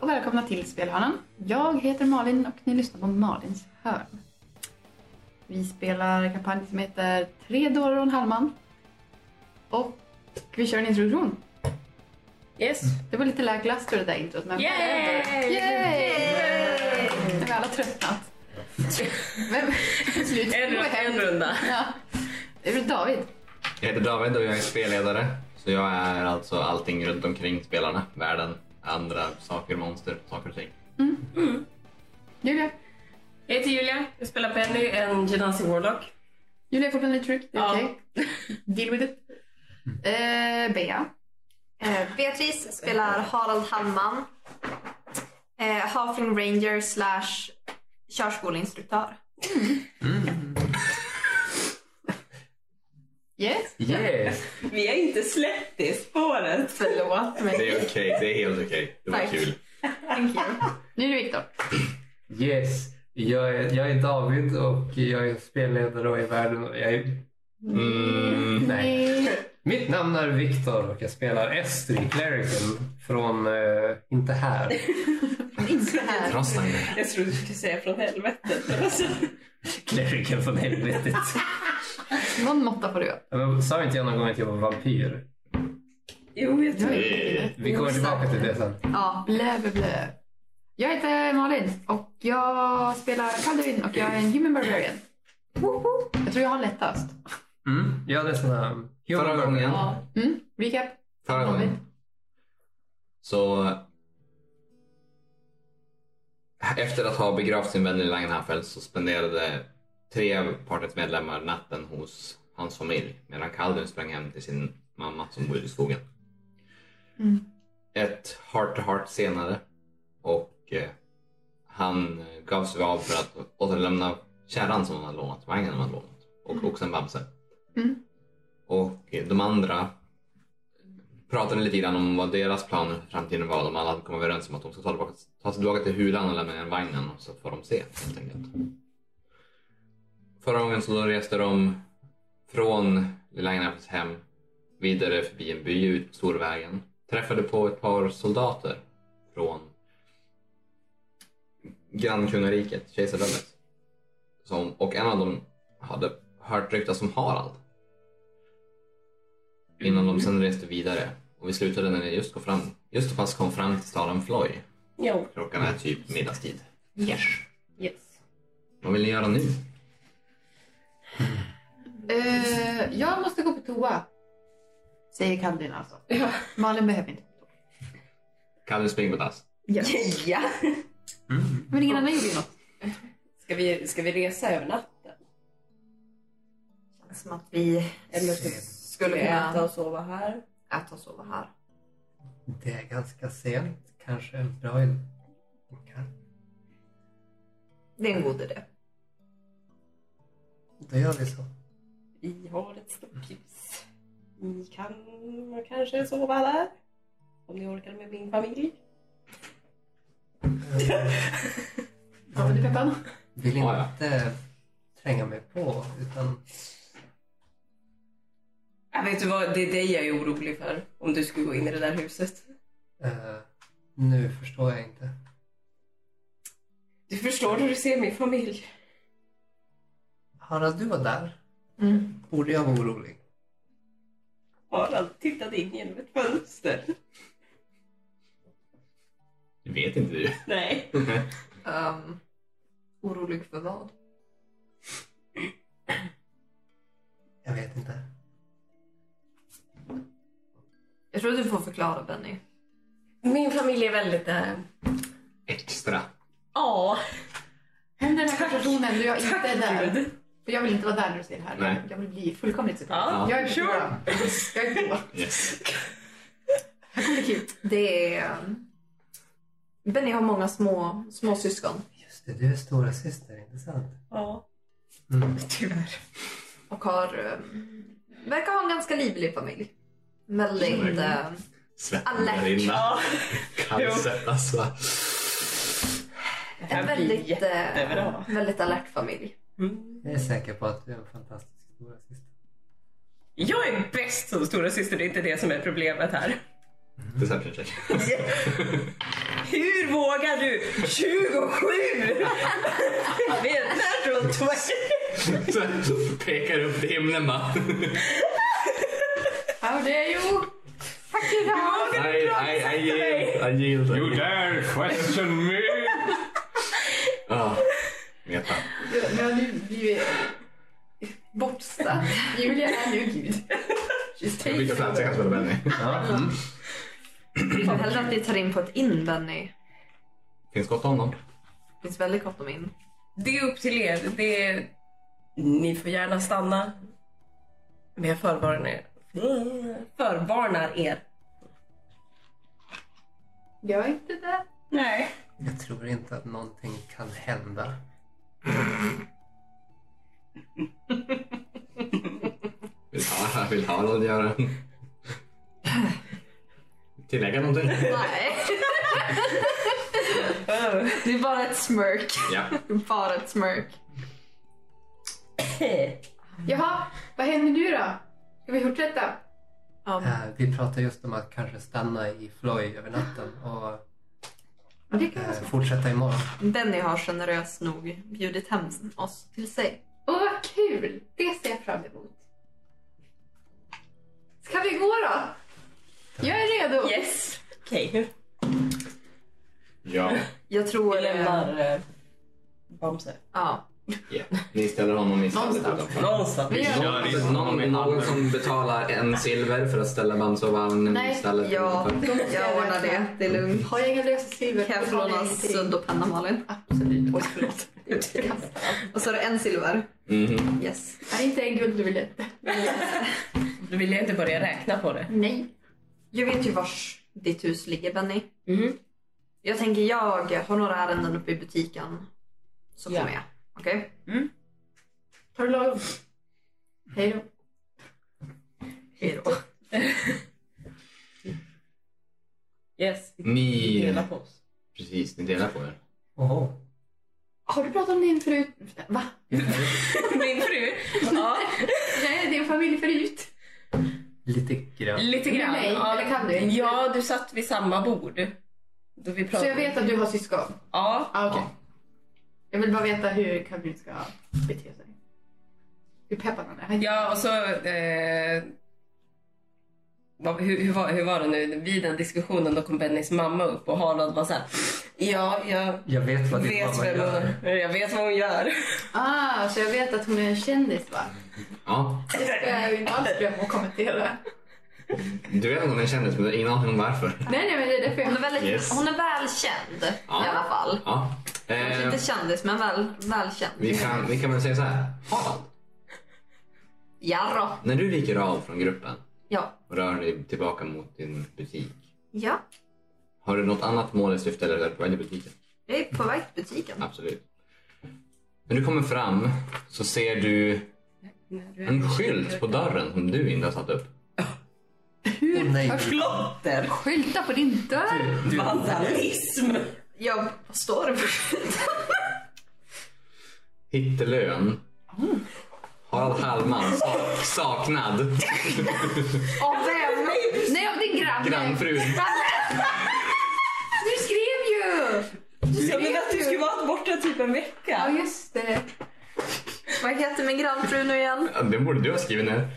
välkomna till Spelhörnan. Jag heter Malin och ni lyssnar på Malins hörn. Vi spelar en kampanj som heter Tre dårar och en halvman. Och vi kör en introduktion. Yes. Det var lite lägre last för det där introt men... Yay! Yay! Nu har alla tröttnat. Men slut. En, Gå hem. en runda. Ja. Det är David. Jag heter David och jag är spelledare. Så jag är alltså allting runt omkring spelarna. Världen, andra saker, monster, saker och ting. Julia. Jag heter Julia. Jag spelar Penny, en Genasi Warlock. Julia är fortfarande lite sjuk. Det är Ja. okej. Deal with it. Eh, Bea. Eh, Beatrice spelar Harald Hallman. Eh, Halfling Ranger slash körskoleinstruktör. Yes. Yes! Vi har inte släppt det spåret. Förlåt mig. Det är okej, det är helt okej. Det var Tack. kul. Thank you. Nu är det Viktor. Yes, jag är, jag är David och jag är spelledare och i världen. och Jag är, Mm, nej. Mitt namn är Viktor och jag spelar Estri, Clericen, från eh, Inte här. Inte här. Krossande. Jag trodde du skulle säga från helvetet. Alltså, Clericen från helvetet. Någon måtta får du ha. Men Sa inte jag någon gång att jag var vampyr? jo, jag tror Eh, Vi kommer tillbaka till det sen. Ja. Blä, blä, blä. Jag heter Malin och jag spelar Calderin och jag är en human barbarian. Woho! Jag tror jag har lättast. Mm. Jag hade sån här... Förra gången. Ja. Mm. Recap. Förra David. gången. Så... Efter att ha begravt sin vän i Langenhafel så spenderade tre av partets medlemmar natten hos hans familj medan Calder sprang hem till sin mamma som bodde i skogen. Mm. Ett heart to heart senare och eh, han gav sig av för att återlämna kärran som han hade lånat, vagnen han hade lånat och oxen Bamse. Mm. Och eh, de andra pratade lite grann om vad deras planer för framtiden var. De alla hade kommit överens om att de ska ta, tillbaka, ta sig tillbaka till hulan och lämna ner vagnen och så får de se helt enkelt. Förra gången så då reste de från Lilla Agnäs hem vidare förbi en by ut på Storvägen. Träffade på ett par soldater från grannkungariket, kejsardömet. Som, och en av dem hade hört ryktas om Harald. Innan de sen reste vidare. Och vi slutade när det just, kom fram, just fast kom fram till staden Floy. Jo. Klockan är typ middagstid. Yes. Yes. Vad vill ni göra nu? Eh, jag måste gå på toa. Säger Calderin alltså. Malin behöver inte. Kalle springer på dass. ja. Men ingen annan gjorde ju något. Ska vi, ska vi resa över natten? Som att vi Eller ska skulle vi äta kunna och sova här? äta och sova här. Det är ganska sent. Kanske en bra idé. Det är en god idé. Då gör vi så. Vi har ett stort hus. Ni kan kanske sova där? Om ni orkar med min familj? David är peppad. Vill Ja, inte tränga mig på utan... Jag vet du vad, det är dig jag är orolig för. Om du skulle gå in i det där huset. eh, nu förstår jag inte. Du förstår hur du ser min familj. Harald, du var där. Mm. Borde jag vara orolig? Harald tittade in genom ett fönster. Det vet inte du. Nej. Ehm, orolig för vad? Jag vet inte. Jag tror att du får förklara Benny. Min familj är väldigt... eh, Extra. Ja. Händer den här konversationen då jag inte är där. Gud. För jag vill inte vara där när du säger det här. Nej. Jag vill bli fullkomligt separat. Ja. Ja. Jag är på Sure. toa. Jag är på toa. Yes. Här kommer det kul. Det är... eh, Benny har många små, små syskon Just det, du är stora syster, inte sant? Ja. Mm. Tyvärr. och har... ehm, verkar ha en ganska livlig familj. Mm. Väldigt... ehm, Svetten Alert. rinner. Ja. Jo. Kallsvett alltså. En Det här blir väldigt, jättebra. eh, väldigt alert familj. Jag är säker på att du är en fantastisk stora syster. Jag är bäst som stora syster, det är inte det som är problemet här. Deception check. Hur vågar du? 27! Vi är natural twenty. Pekar upp till himlen bara. Ja, det är ju... Tack för det I, här. I, I yield. I yield. You dare question me! Ah, Meta. Nu har du blivit bortstött. Julia är nu gud. She's Jag byter plats, jag kan spela Benny. Ja. Vi får hellre att vi tar in på ett in, Benny. Finns gott om dem. Det finns väldigt gott om in. Det är upp till er. Det är... Ni får gärna stanna. Men jag förvarnar er. Förvarnar er. Jag är inte där. Nej. Jag tror inte att någonting kan hända. Vill ha, vill ha något att göra. Tillägga någonting? Nej. Det är bara ett smörk. Ja. Bara ett smörk. Jaha, vad händer nu då? Ska vi fortsätta? Ja, Eh, Vi pratade just om att kanske stanna i Floy över natten och Ja, Det kan vara eh, så. fortsätta imorgon. Benny har generöst nog bjudit hem oss till sig. Åh, vad kul! Det ser jag fram emot. Ska vi gå då? Jag är redo. Yes. Okej. Ja. Jag tror... Vi lämnar eh, Bamse. Ja. ja. Ni ställer honom i stallet Någonstans. utanför. Någonstans. Vi gör det. Någon, någon, någon som betalar en silver för att ställa Bamsevagnen i Nej, stallet Ja, utanför. jag ordnar det. Det är lugnt. Har jag inga lösa silver? Kan jag få har låna ingenting. sudd och penna, Malin? Absolut. Oj, förlåt. Och så är det en silver. Mhm. Yes. Är inte en guld du vill inte? Då vill jag inte börja räkna på det. Nej. Jag vet ju vars ditt hus ligger, Benny. Mhm. Jag tänker jag har några ärenden uppe i butiken. Så Ja. kommer jag. Okej? Tar du lagom? Hej då. Hej då. Yes. Ni... Dela på oss. Precis, ni delar på er. Oho. Har du pratat om din fru? Va? Min fru? Ja, Nej, din familj förut. Lite grann. lite Med grann. mig, ja, eller kan du? Ja, du satt vid samma bord. Då vi pratade. Så jag vet att du har syskon? Ja, Ah, okej. Jag vill bara veta hur Kamil ska bete sig. Hur peppad han är. Han- ja och så... Eh, vad, hur, hur, var, hur var det nu? Vid den diskussionen då kom Bennys mamma upp och Harald var så här... Ja, jag Jag vet vad din vet, mamma vem gör. hon, jag vet vad hon gör. Ah, så jag vet att hon är en kändis va? Ja. Det ska jag ju inte alls glömma att kommentera. Du vet att hon är kändis, men du har ingen aning om varför. Nej, nej, men det är därför Hon jag... är, väldigt, Yes. hon är välkänd Ja. i alla fall. Ja. Kanske Eh, inte kändis, men väl, välkänd. vi, kan, vi kan väl säga så här. Harald, Ja, då. när du viker av från gruppen Ja. och rör dig tillbaka mot din butik. ja, Har du något annat mål i syfte eller är du på väg till butiken? jag är på väg till butiken. Absolut. När du kommer fram så ser du en skylt på dörren som du inte har satt upp. Åh, nej. Klotter! Skylta på din Typ. dörr! Vandalism! Jag vad står det för Hittelön. Harald Hallman, sak- saknad. Av vem? Nej, av din granne! Grannfrun. Du skrev ju! Jag ville att du skulle vara borta typ en vecka. Ja, just det. Vad heter min grannfru nu igen? Ja, Det borde du ha skrivit ner.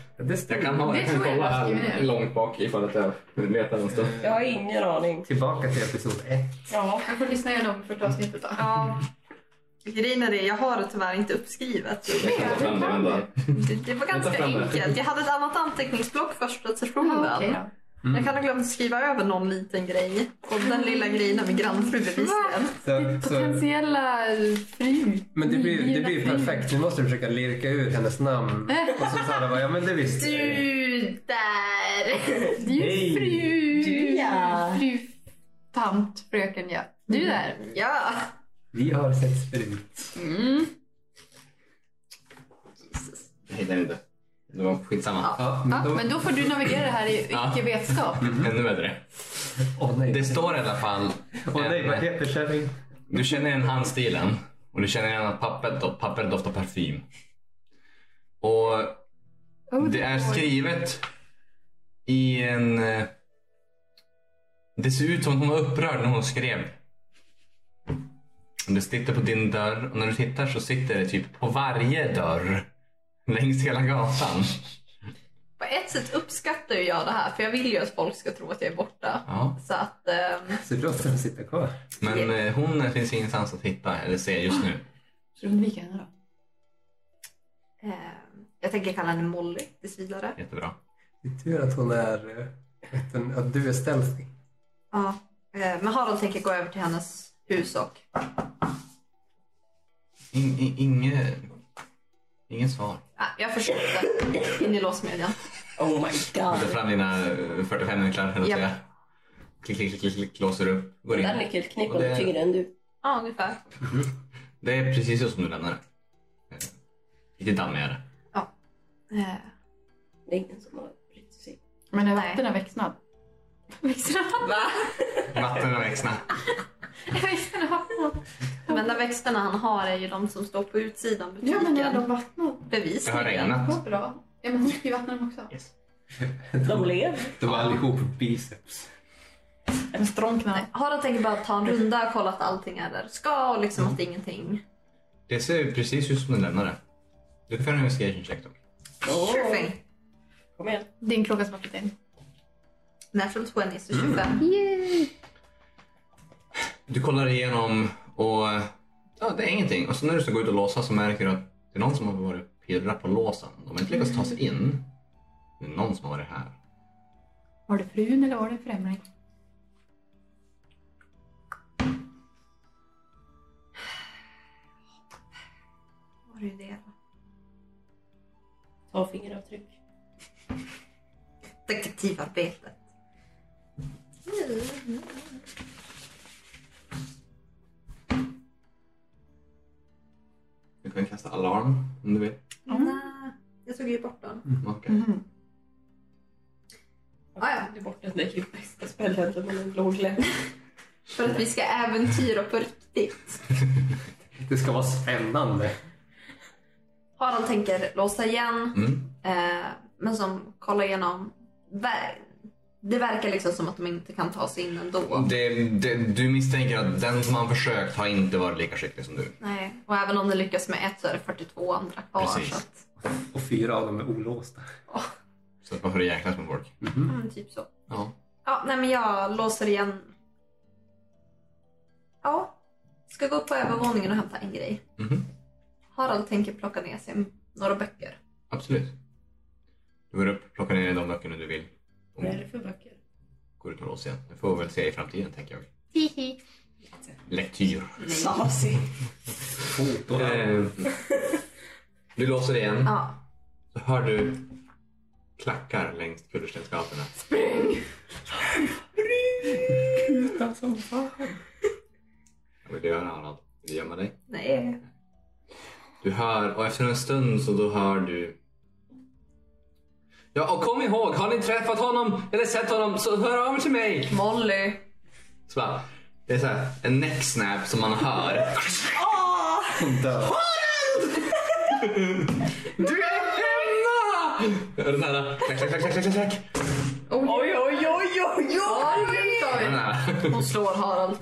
Jag kan, ha, Det jag kan tror jag kolla jag har här skrivit ner. långt bak ifall att jag letar en stund. Jag har ingen aning. Tillbaka till episod ett. Ja. Jag får lyssna igenom första avsnittet då. Ja. Grejen är det, jag har det tyvärr inte uppskrivet. Jag kan ta fram det, vänta. Det, det var Jag ganska tar fram det. enkelt. Jag hade ett annat anteckningsblock första sessionen. Ja, okej då. Jag kan ha glömt skriva över någon liten grej. Och den lilla grejen är min grannfru bevisligen. Eh, Så, Ditt så, potentiella fru. men det blir, det Nyblivna blir fru. perfekt. Nu måste du försöka lirka ut hennes namn. Och så Sara bara, ja men det visste jag Du ju. där! Du Hej. fru... Du, ja. Fru... Tant, fröken, ja. Du där. Ja. Vi har sett förut. Mm. Jesus. Jag hittar inte. Det var skitsamma. Ja, men Ja, då... men då får du navigera det här i Ja. icke vetskap. Ännu bättre. Åh nej. Det står i alla fall... Åh nej, vad heter kärringen? Du känner igen handstilen och du känner igen att pappret, do- pappret doftar parfym. Och Oh, det är oj. skrivet i en... eh, Det ser ut som att hon var upprörd när hon skrev Du sitter på din dörr och när du tittar så sitter det typ på varje dörr längs hela gatan. På ett sätt uppskattar ju jag det här för jag vill ju att folk ska tro att jag är borta. Ja. Så att... ehm, Så låter den sitta kvar. Men eh, hon finns ingenstans att hitta eller se just nu. Så undviker henne då. ehm, jag tänker kalla henne Molly tills vidare. Jättebra. Det är tur att hon är... eh, Att, den, att du är stealthy. Ja. eh, Men Harald tänker gå över till hennes hus och... In, in, inge, ingen svar. Ah, jag förstår inte. In i låsmedjan. Oh my Du tar god. fram dina eh, 45 nycklar. höll jag Japp. på att säga. Klick, klick, klick, klick, klick, låser upp. Går in. Den nyckelknippan Och är det- tyngre än du. Ja, ungefär. Det är precis så som du lämnade det. Eh, Lite dammigare. Eh, Det är ingen som har brytt sig. Men är Nej. vatten är växtnad? Växterna. Va? Vatten och växterna. Växterna har De enda växterna han har är ju de som står på utsidan av Ja, butiken. men är de vattnad? Det har Bevisligen. regnat. Vad bra. Ja, men hon ska ju vattna dem också. De lever. De var allihop biceps. Men strånknar. Nej, Harald tänker bara ta en runda och kolla att allting är där det ska och liksom att det är ingenting. Det ser ut precis ut som du lämnade det. Du kan få en investigation check dock. Åh, Sure thing. Kom igen. Din klocka som har flyttat in. Natural 20 så 25. Du kollar igenom och eh, ja, det är ingenting. Och så när du ska gå ut och låsa så märker du att det är någon som har varit och pirrat på låsen. De har inte lyckats ta sig in. Det är någon som har varit här. Var det frun eller var det en främling? Var det ju det? Ta fingeravtryck. Detektivarbetet. Mm. Du kan kasta alarm om du vill. Nej, jag tog ju bort den. Okej. Ah, ja. Du är borta. Det är ju bästa spelhänden med en låg level. För att vi ska äventyra på riktigt. Det ska vara spännande. Harald tänker låsa igen, Mm. eh, men som kollar igenom. Ver- det verkar liksom som att de inte kan ta sig in ändå. Det, det, du misstänker att den som har försökt har inte varit lika skicklig som du. Nej. Och även om det lyckas med ett så är det 42 andra kvar. Precis. Så att, Och fyra av dem är olåsta. Så att man får jäklas med folk. mm, typ så. Ja. Ja, nej men jag låser igen. Ja. Ska gå upp på övervåningen och hämta en grej. Mhm. Harald tänker plocka ner sig några böcker. Absolut. Du går upp, plockar ner de böckerna du vill. Och Vad är det för böcker? går ut och låser igen. Det får vi väl se i framtiden tänker jag. Hihi. Lektyr. Snasig. Foton. Eh, du låser igen. Ja. Så hör du klackar längs kullerstensgatorna. Utan som fan. Vad vill du göra Harald? Vill du gömma dig? Nej. Du hör och efter en stund så då hör du... Ja och kom ihåg, har ni träffat honom eller sett honom så hör av er till mig! Molly. Så bara, det är så här, en necksnap som man hör. Hon dör. Du är hemma! Och Den här, klack, klack, klack, klack, klack, klack. Oj, oj, oj, oj, Den oj! här. Hon slår Harald.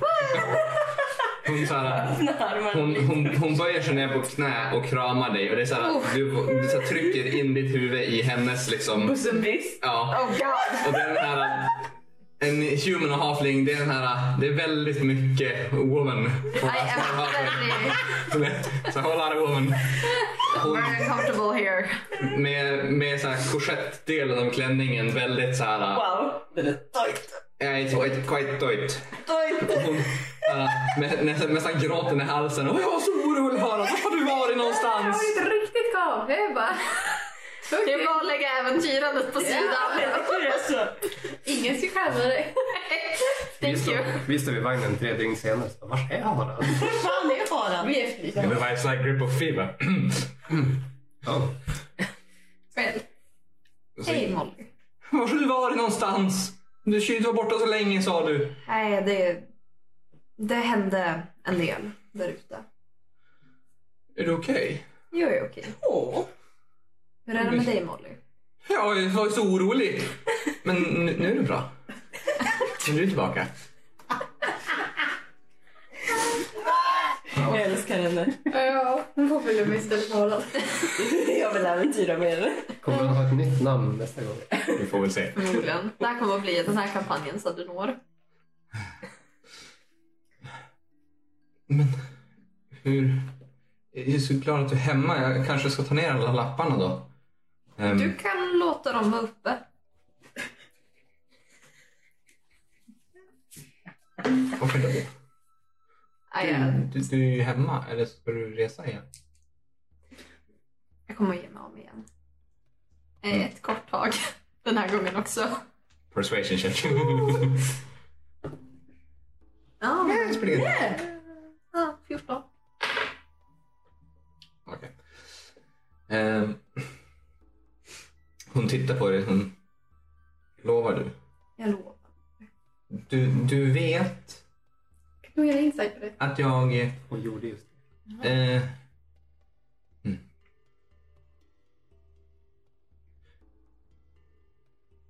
Hon så här, Hon, hon, hon böjer sig ner på knä och kramar dig och det är så här, Oh. du, du så här, trycker in ditt huvud i hennes liksom. Pussenbrist. Ja. Oh god. Och det är den här, en human och halfling, det är den här, det är väldigt mycket woman. I am very, Så håll alla woman. Hon very comfortable here. med, med så här korsettdelen av klänningen väldigt så här. Wow, den är tajt. Ja, it's quite, quite dojt. Tajt. Hon äh, med, nästan, nästan gråten i halsen. Och jag var så orolig Harald, var har du varit någonstans? Riktigt gav. Det är bara... Det är bara att lägga äventyrandet på sidan. Ingen ska skämma dig. Vi Thank stod, you. vi stod vid vagnen tre dygn senare. Så bara, Var är Harald? Fan, det är Harald. Vi är fri. Det var ett sånt grip of fever. Ja. Well, Hej Molly. Var har du varit någonstans? Du skulle inte vara borta så länge sa du. Nej, det, det hände en del där ute. Är du okej? Jag är okej. Åh. Hur är det med dig Molly? Ja, jag var ju så orolig. Men nu, nu är det bra. Nu är du tillbaka. älskar henne. Ja, hon får väl lugna istället för Holland. Jag vill äventyra med henne. Kommer han ha ett nytt namn nästa gång? Vi får väl se. Förmodligen. Det här kommer att bli den här kampanjen så att du når. Men hur... Jag är så glad att du är hemma. Jag kanske ska ta ner alla lapparna då. Ehm, Du kan låta dem vara uppe. Varför då? Aj, Du, du, du är ju hemma. Eller ska du resa igen? Jag kommer att ge mig om igen. Eh, Ett kort tag. Den här gången också. Persuasion check. Ja, That's pretty good. ja, 14. Okej. Ehm, hon tittar på dig. Hon... Lovar du? Jag lovar. Du, du vet Kan du göra insight på det? att jag... eh, Hon gjorde just det. Eh, mm.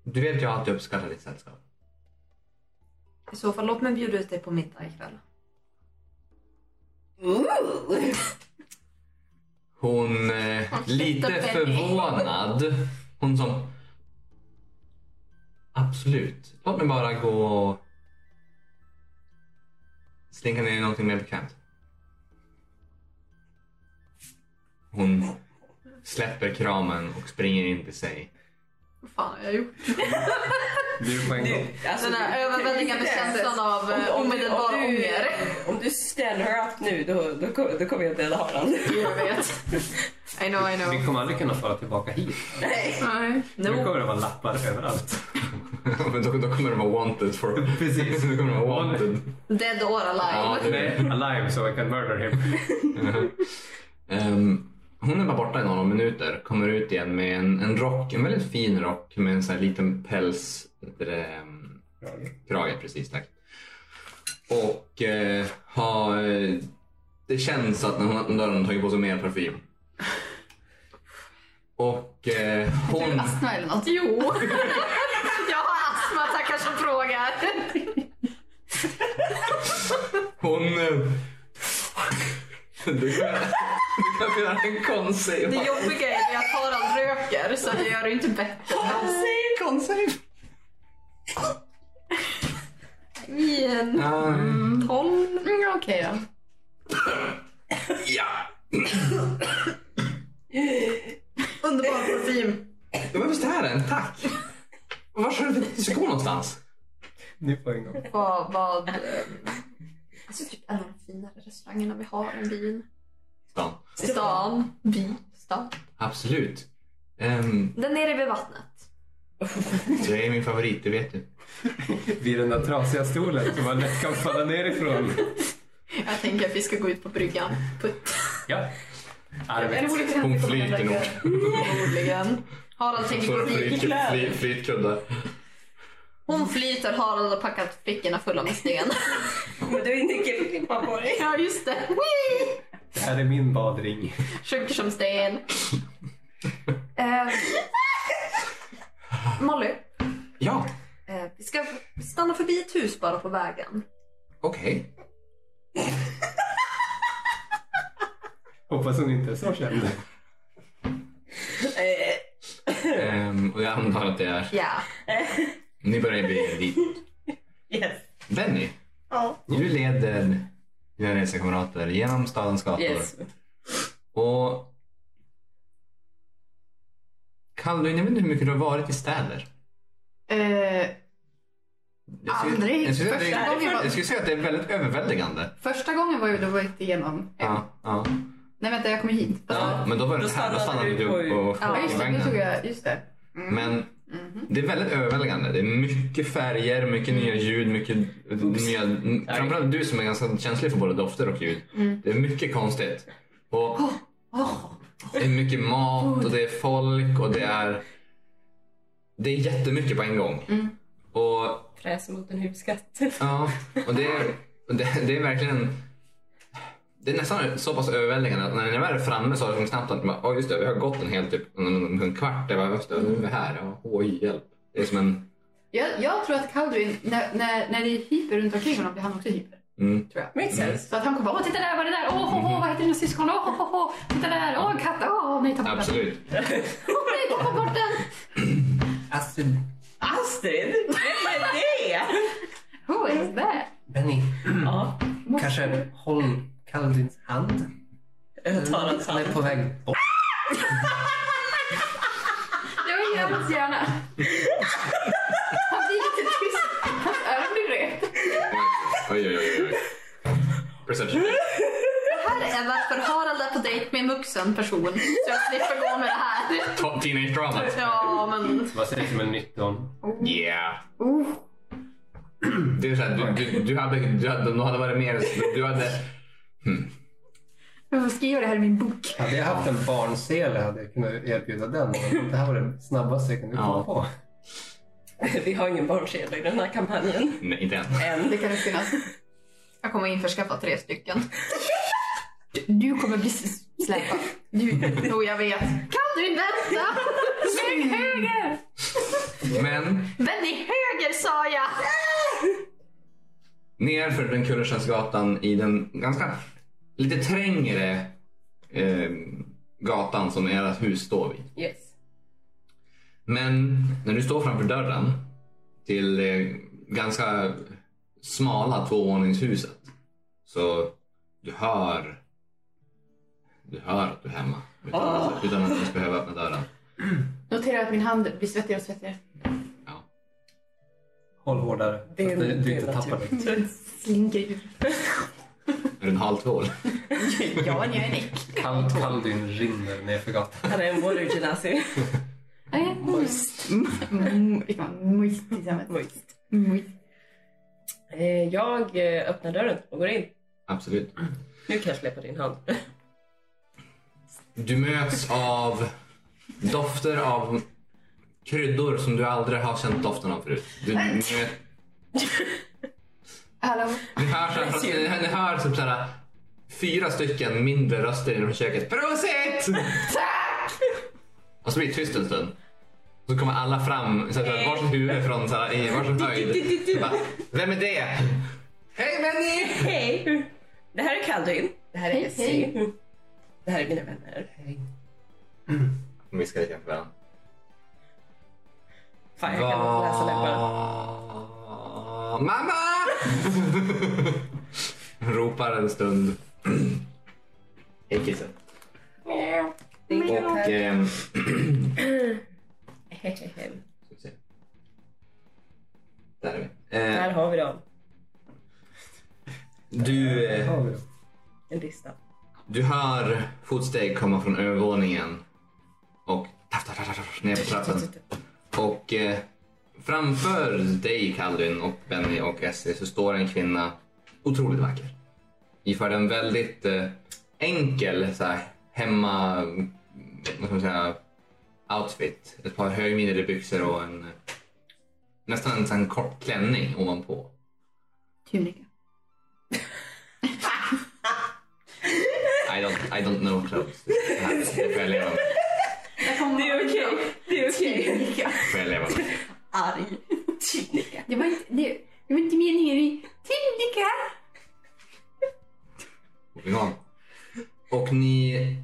Du vet jag alltid uppskattar ditt sällskap. I så fall, låt mig bjuda ut dig på middag ikväll. Hon eh, Hon lite sätter Benny. förvånad. Hon som... Absolut. Låt mig bara gå och slinka ner i någonting mer bekvämt. Hon släpper kramen och springer in till sig. Vad fan har jag gjort? Du på en gång. Alltså, Den här du- överväldigande känslan av eh, Om- om- omedelbar om du- ånger. Om du ställer her up nu, då, då, ko- då kommer jag döda Harald. Jag vet. I know, I know. Vi kommer aldrig kunna fara tillbaka hit. Nej. Nu kommer det vara lappar överallt. Men då, då kommer det vara wanted for... Precis. då kommer det vara wanted. Dead or Ja, alive. det- Nej, alive so I can murder him. Ehm, hon är bara borta i några minuter. Kommer ut igen med en, en rock. En väldigt fin rock med en sån här liten päls... vad heter det, ehm, Krage, precis tack. Och eh, ha, eh, det känns att när hon öppnar dörren har hon tagit på sig mer parfym. Och eh, Hon... hon... Astma eller något? Jo. Jag har astma, tackar som frågar. Hon... eh, Du kan, du kan få göra en konstig... Det jobbiga är att Harald röker så det gör det inte bättre. Konstig! I en Ja, tolv. Mm, Okej då. ja. Underbar parfym. Men visst är den? Tack! Var ska du ska gå någonstans? Nu på en gång. Vad, vad... ehm, Alltså typ en av de finare restaurangerna vi har i byn. Stan. Stan. By. Stan. Absolut. Um, Den nere vid vattnet. det är min favorit, det vet du. Vid den där trasiga stolen som man lätt kan falla ner ifrån. Jag tänker att vi ska gå ut på bryggan. Putt. Ja. Arvet. Hon flyter nog. Förmodligen. Harald tänker Står gå och dit. flyter- fly- flytkuddar. Hon flyter, Harald har packat fickorna fulla med sten. Men du är inte klippa på dig. ja, just det. Whee! Det här är min badring. Sjunker som sten. Eh, Molly, Ja, eh, vi ska stanna förbi ett hus bara på vägen. okej. Hoppas hon inte är så känd. Eh, Ehm, och jag antar att det är... Ja. Ni börjar bli dit. Yes. Benny, Ja. du leder dina resekamrater genom stadens gator. Yes. Och... Kalle, jag vet inte hur mycket du har varit i städer. Eh, Jag skulle- Aldrig. Jag skulle, säga att Första det, gången var- jag skulle säga att det är väldigt överväldigande. första gången var ju då jag gick igenom. en. Ja, ja. Nej vänta, jag kom ju hit. Ja, men då var Då det här. Då stannade stannade du du på- på Ja, just det. Nu tog vagnen. jag... Just det. Mm. Men Mhm. det är väldigt överväldigande. Det är mycket färger, mycket nya ljud, mycket nya... m- Aj. Framförallt du som är ganska känslig för både dofter och ljud. Mm. Det är mycket konstigt. Och Åh, det är mycket mat och det är folk och det är... Det är jättemycket på en gång. Mm. Och, Fräs mot en huskatt. ja, och det, är, och det, det är verkligen... Det är nästan så pass överväldigande att när jag väl är framme så har jag knappt att man, oh, just det, vi har gått en hel typ en, en kvart. Jag bara, just det, nu är vi här. Ja, oj, hjälp. Det är som en... Jag, jag tror att Kalduin, när, när, när det är hyper runt omkring honom blir han också hyper. Mm. tror jag. Makes sense. Så att han kommer bara, åh titta där, vad är det där? Åh, oh, Mm-hmm. vad heter dina syskon? Åh, oh, oh, oh. titta där, åh, katt, åh, nej, ta bort den. Absolut. Åh, nej, ta bort den. Astrid. Astrid, vem är det? Who is that? Benny. ja, Kanske håll Kalvins hand. jag tar hans Han hand. är på väg bort. Det var hela hans hjärna. Han blir jättetyst. Hans öron blir röda. Oj, oj, oj. oj. Perception. Det här är varför Harald är på dejt med en vuxen person. Så jag slipper gå med det här. Top teenage drama. Ja, men... Vad sägs om en 19? Yeah. Oh. Det är så här, du, du, du, hade, du, hade, du hade varit mer... Du hade... Jag får skriva det här i min bok. Hade jag haft en barnsele hade jag kunnat erbjuda den. men Det här var det snabbaste jag kunde Ja. komma på. Vi har ingen barnsedel i den här kampanjen. Nej, inte än. Än. Det kan det finnas. Jag kommer införskaffa tre stycken. Du kommer bli s- släpad. Du, Jo, jag vet. Kan du inte vänta? Sväng höger! Men Benny, höger sa jag! nerför den Kullerstensgatan i den ganska lite trängre eh, gatan som ert hus står vid. Yes. Men när du står framför dörren till det ganska smala tvåvåningshuset så du hör du hör att du är hemma utan, att, utan att ens behöva öppna dörren. Notera att min hand blir svettigare och svettigare. Ja. Håll hårdare. Det är- typ. så det att du, du är inte tappar naturligt. det. Slinker ut. Är du en halv tvål? Ja, ni är en äck. Kal, Kalvin rinner nerför gatan. Han är en water genasi. Moist. Vi kan vara moist tillsammans. Moist. Moist. Eh, Jag eh, öppnar dörren och går in. Absolut. Nu kan jag släppa din hand. Du möts av dofter av kryddor som du aldrig har känt doften av förut. Du, ni, vet- Hallå? ni hör, så här, ni, ni hör typ så här, fyra stycken mindre röster inom köket. Prosit! Och så blir det tyst en stund. Så kommer alla fram, så här, varsitt huvud från så här, i varsin höjd. Så Bara, Vem är det? Hej Benny! Hej! Det här är Kaldun. Det här är Hej, Essie. Det här är mina vänner. De viskar lite grann för varandra. Fan, jag kan inte läsa läpparna. Va- Mamma! Ropar en stund. Hej kissen. Och... ehm, Hehehe. ska vi se. Där är vi. Här Eh, har vi dem. du, eh, Har vi det? En lista. du hör fotsteg komma från övervåningen. Och taff, taff, taff, taff, taff, ner på trappan. Och eh, framför dig, Kallun, och Benny och Essie så står en kvinna otroligt vacker. Iförd en väldigt eh, enkel så här, hemma... Vad ska man säga? Outfit. Ett par högmidjade byxor och en eh, nästan en sån här kort klänning ovanpå. Tunika. I don't, I don't know clothes. Det här- det får jag leva med. Där kommer Det är okej. Det är okej. Tunika. Det får jag leva med. Arg. Tydliga. Det var inte, det, det var inte meningen. Vi- Tunika! Ja. Och ni...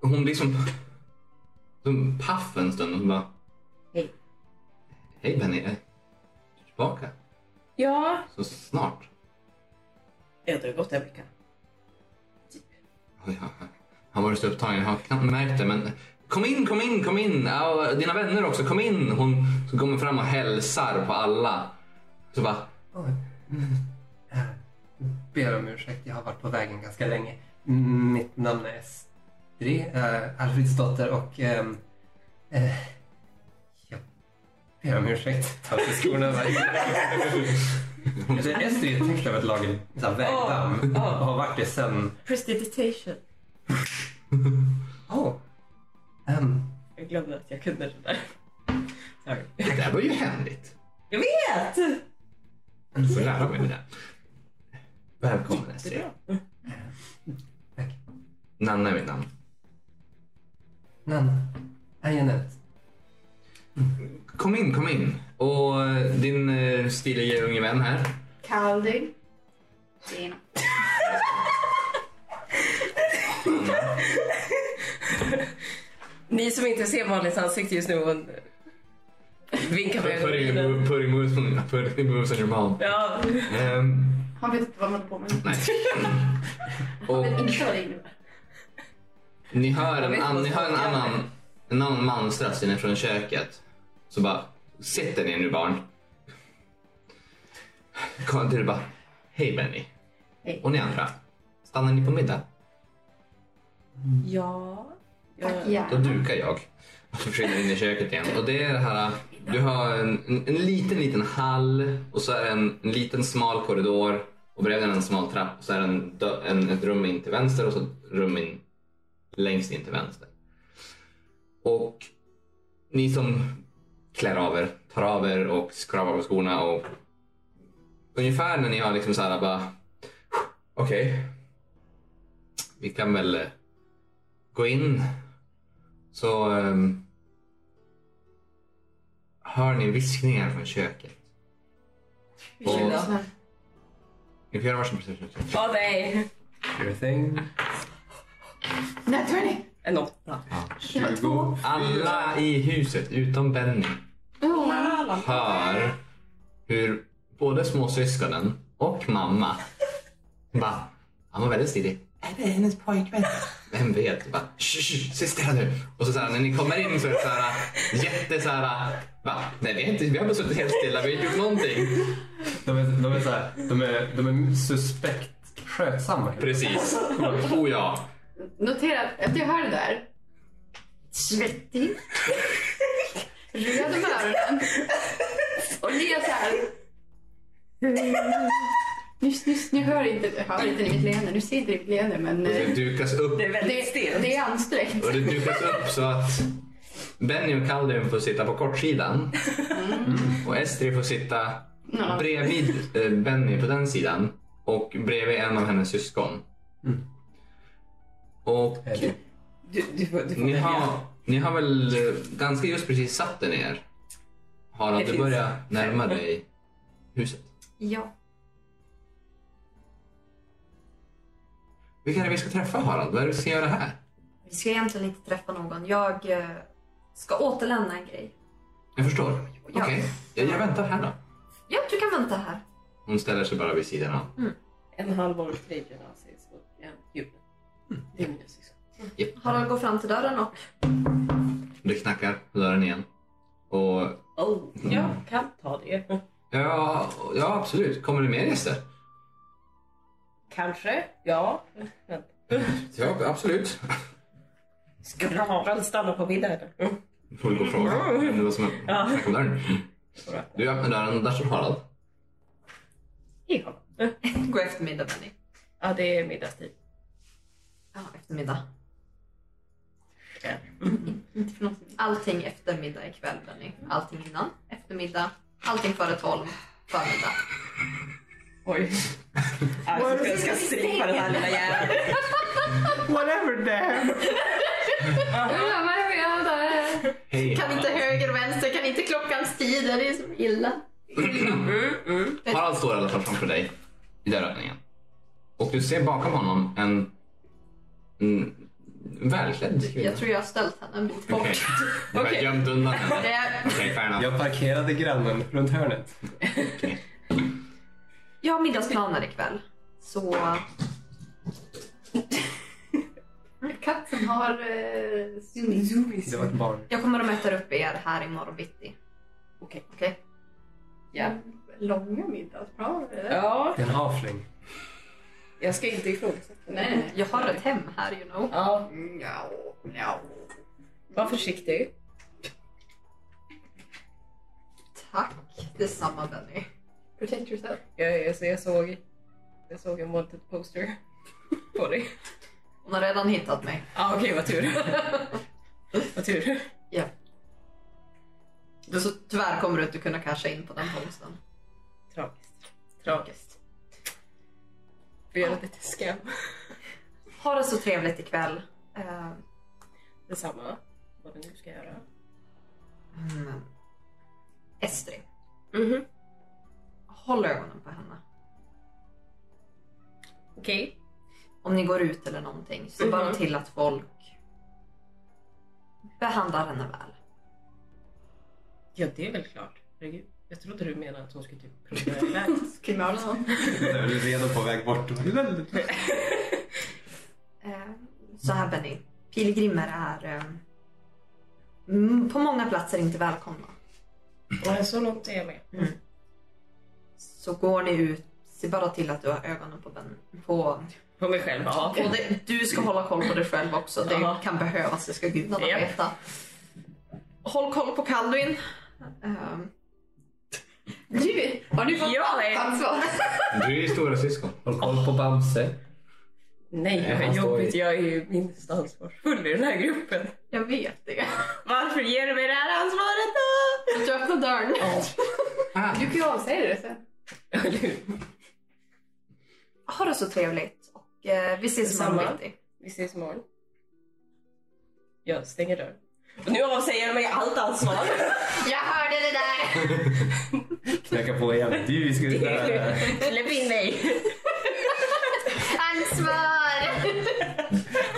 Hon blir som... som paff en stund och så bara... Hej. Hej Benny. Är du tillbaka Ja. så snart? Det har gått en vecka. Oj, ja, ja. Han var så upptagen. Jag har märkt det men... Kom in, kom in, kom in! Ja, och dina vänner också, kom in! Hon så kommer fram och hälsar på alla. Så bara... Oj. Mm. Äh, Ber om ursäkt, jag har varit på vägen ganska länge. Mm, Mitt namn är Estrid äh, Alfredsdotter och... ehm, eh, jag ber om ursäkt. Ta av sig skorna. va? Det- Estrid är ett först av ett lager så här vägdamm Ja, och ja. har varit det sen... Prestidigitation. Åh! Ehm, Jag glömde att jag kunde det där. Sorry. Det där var ju händigt. Jag vet! Du får lära mig det där. Välkommen Estrid. tack. Nanna är mitt namn. Nanna. Hej Jeanette. Kom in, kom in. Och eh, din eh, er stilige unge vän här. Kaldig. Tjena. Ni som inte ser Malins ansikte just nu, hon vinkar med Putting ögonen. move- putting moves on- putting moves on your mom. Ja. Ehm, Han vet inte vad man håller på med. nej. Jag Och vet inte vad det innebär. ni hör Jag en, vet an, vad ni som hör en händer. annan, en annan mans röst inifrån köket. Så bara, sätt er ner nu barn. Kom till bara, hej Benny. Hej. Och ni andra, stannar ni på middag? Ja. Tack ja. Då gärna. dukar jag. Och så försvinner in i köket igen. Och det är det här. Du har en, en, en liten, liten hall och så är det en, en liten smal korridor och bredvid den en smal trapp och så är det en, dö- en, ett rum in till vänster och så ett rum in längst in till vänster. Och ni som klär av er, tar av er och skrapar på skorna och ungefär när ni har liksom så här bara okej. Vi kan väl eh, gå in så ehm, hör ni viskningar från köket. Och, ni får göra varsin perception check. Åh nej. Your thing. Nej, Tony! En åtta. 20. Alla i huset utom Benny Alla. hör hur både småsyskonen och mamma bara, han var väldigt stilig. Är det hennes pojkvän? Vem vet? Bara, "Shh, shh, Tyst nu. Och så, så här, när ni kommer in så är det så här jätte så här. Va? Nej, vi har, inte, vi har bara suttit helt stilla. Vi har inte gjort någonting. De är, de är så här, de är, de är suspekt skötsamma. Precis. Oh ja. Notera att efter jag hör det där. Svettig. Röd om öronen. Och ni är så här. Nu, nu, nu hör inte, jag hör inte ni mitt leende, nu ser inte ni mitt leende men Och det eh, dukas upp Det är väldigt det, stelt. det är ansträngt. och det dukas upp så att Benny och Kaldun får sitta på kortsidan och Estri får sitta Ja. bredvid eh, Benny på den sidan och bredvid en av hennes syskon. Mm. Och Eller- Du, du, får- du får ni välja. har, ni har väl eh, ganska just precis satt er ner? Harald, Det du finns. börjar närma dig huset. Ja. Vilka är det vi ska träffa Harald? Vad är det vi ska göra här? Vi ska egentligen inte träffa någon. Jag eh, ska återlämna en grej. Jag förstår. Okej, Ja. jag, jag väntar här då. Ja, du kan vänta här. Hon ställer sig bara vid sidan av. En halv år krig gymnasiet och en jul. Det är mina syskon. Harald går fram till dörren och Det knackar på dörren igen. Och Oh, jag kan ta det. ja, ja, absolut. Kommer det mer gäster? Kanske. Ja. Vänta. Ja, absolut. Ska Harald stanna på middag eller? Mm. Får du gå och fråga. Det var som en Ja. knack om dörren. Du öppnar dörren och där står Harald. Hej Harald. går eftermiddag, Benny. Ja, det är middagstid. Ja, eftermiddag. Ja. Inte för något. Allting eftermiddag ikväll, Benny. Allting innan, eftermiddag. Allting före tolv, förmiddag. Oj. Alltså, jag ska slippa den här lilla jäveln. Whatever damn! Hej Kan inte Harald. höger, vänster, kan inte klockans tider. Det är så illa. Harald står i alla fall framför dig i dörröppningen. Och du ser bakom honom en, en välklädd kvinna. Jag tror jag har ställt henne en bit bort. Eh, Okej. Du har Okej. gömt undan henne. Det är... Okej, fair enough. Jag parkerade grannen runt hörnet. Jag har middagsplaner ikväll. Så Katten har eh, zoomies. Det var ett barn. jag kommer att möta upp er här imorgon bitti. Okej. Okej? Ja. långa middagsplaner. ja, Det är en havfling. jag ska inte ifrågasätta. Nej, nej. Jag har ett hem här, you know. Ja, Nja, nja. var försiktig. Tack detsamma Benny. Protect yourself. Jag, jag, så jag, såg, jag såg en wanted poster på dig. Hon har redan hittat mig. Ja, okej, vad tur. vad tur. Så tyvärr kommer du inte kunna casha in på den posten. Tragiskt. Tragiskt. Vi gör lite skam. Ha det så trevligt ikväll. Eh, Detsamma. Vad du nu ska göra. Eh, mm, Estrid. Mhm. Håll ögonen på henne. Okej. Om ni går ut eller någonting, se bara Mhm. till att folk behandlar henne väl. Ja, det är väl klart. Herregud. Jag trodde du menade att hon skulle typ promenera iväg. Kriminalen har Jag är väl redan på väg bort. Eh, Så här Benny, pilgrimer är eh, mm, på många platser inte välkomna. Men så långt är jag med. Så går ni ut, se bara till att du har ögonen på Benny. På, På mig själv, ja. och det, du ska hålla koll på dig själv också. Det Jaha. kan behövas, det ska gudarna Japp. veta. Håll koll på Kalduin. Eh, Du, har du fått Jag är- ansvar? Du är ju stora syskon. Håll koll på Bamse. Nej, Nej, han vad står jobbigt. i- Jag är ju minst ansvarsfull i den här gruppen. Jag vet det. Varför ger du mig det här ansvaret då? Du öppnar dörren. Du kan ju avsäga det sen. Ha det så trevligt. Och, eh, vi ses Detsamma. imorgon bitti. Vi ses imorgon. Jag stänger dörren. Och nu avsäger jag mig allt ansvar. Jag hörde det där! Knacka på igen. Du, vi ska ut där. Släpp in mig. Ansvar!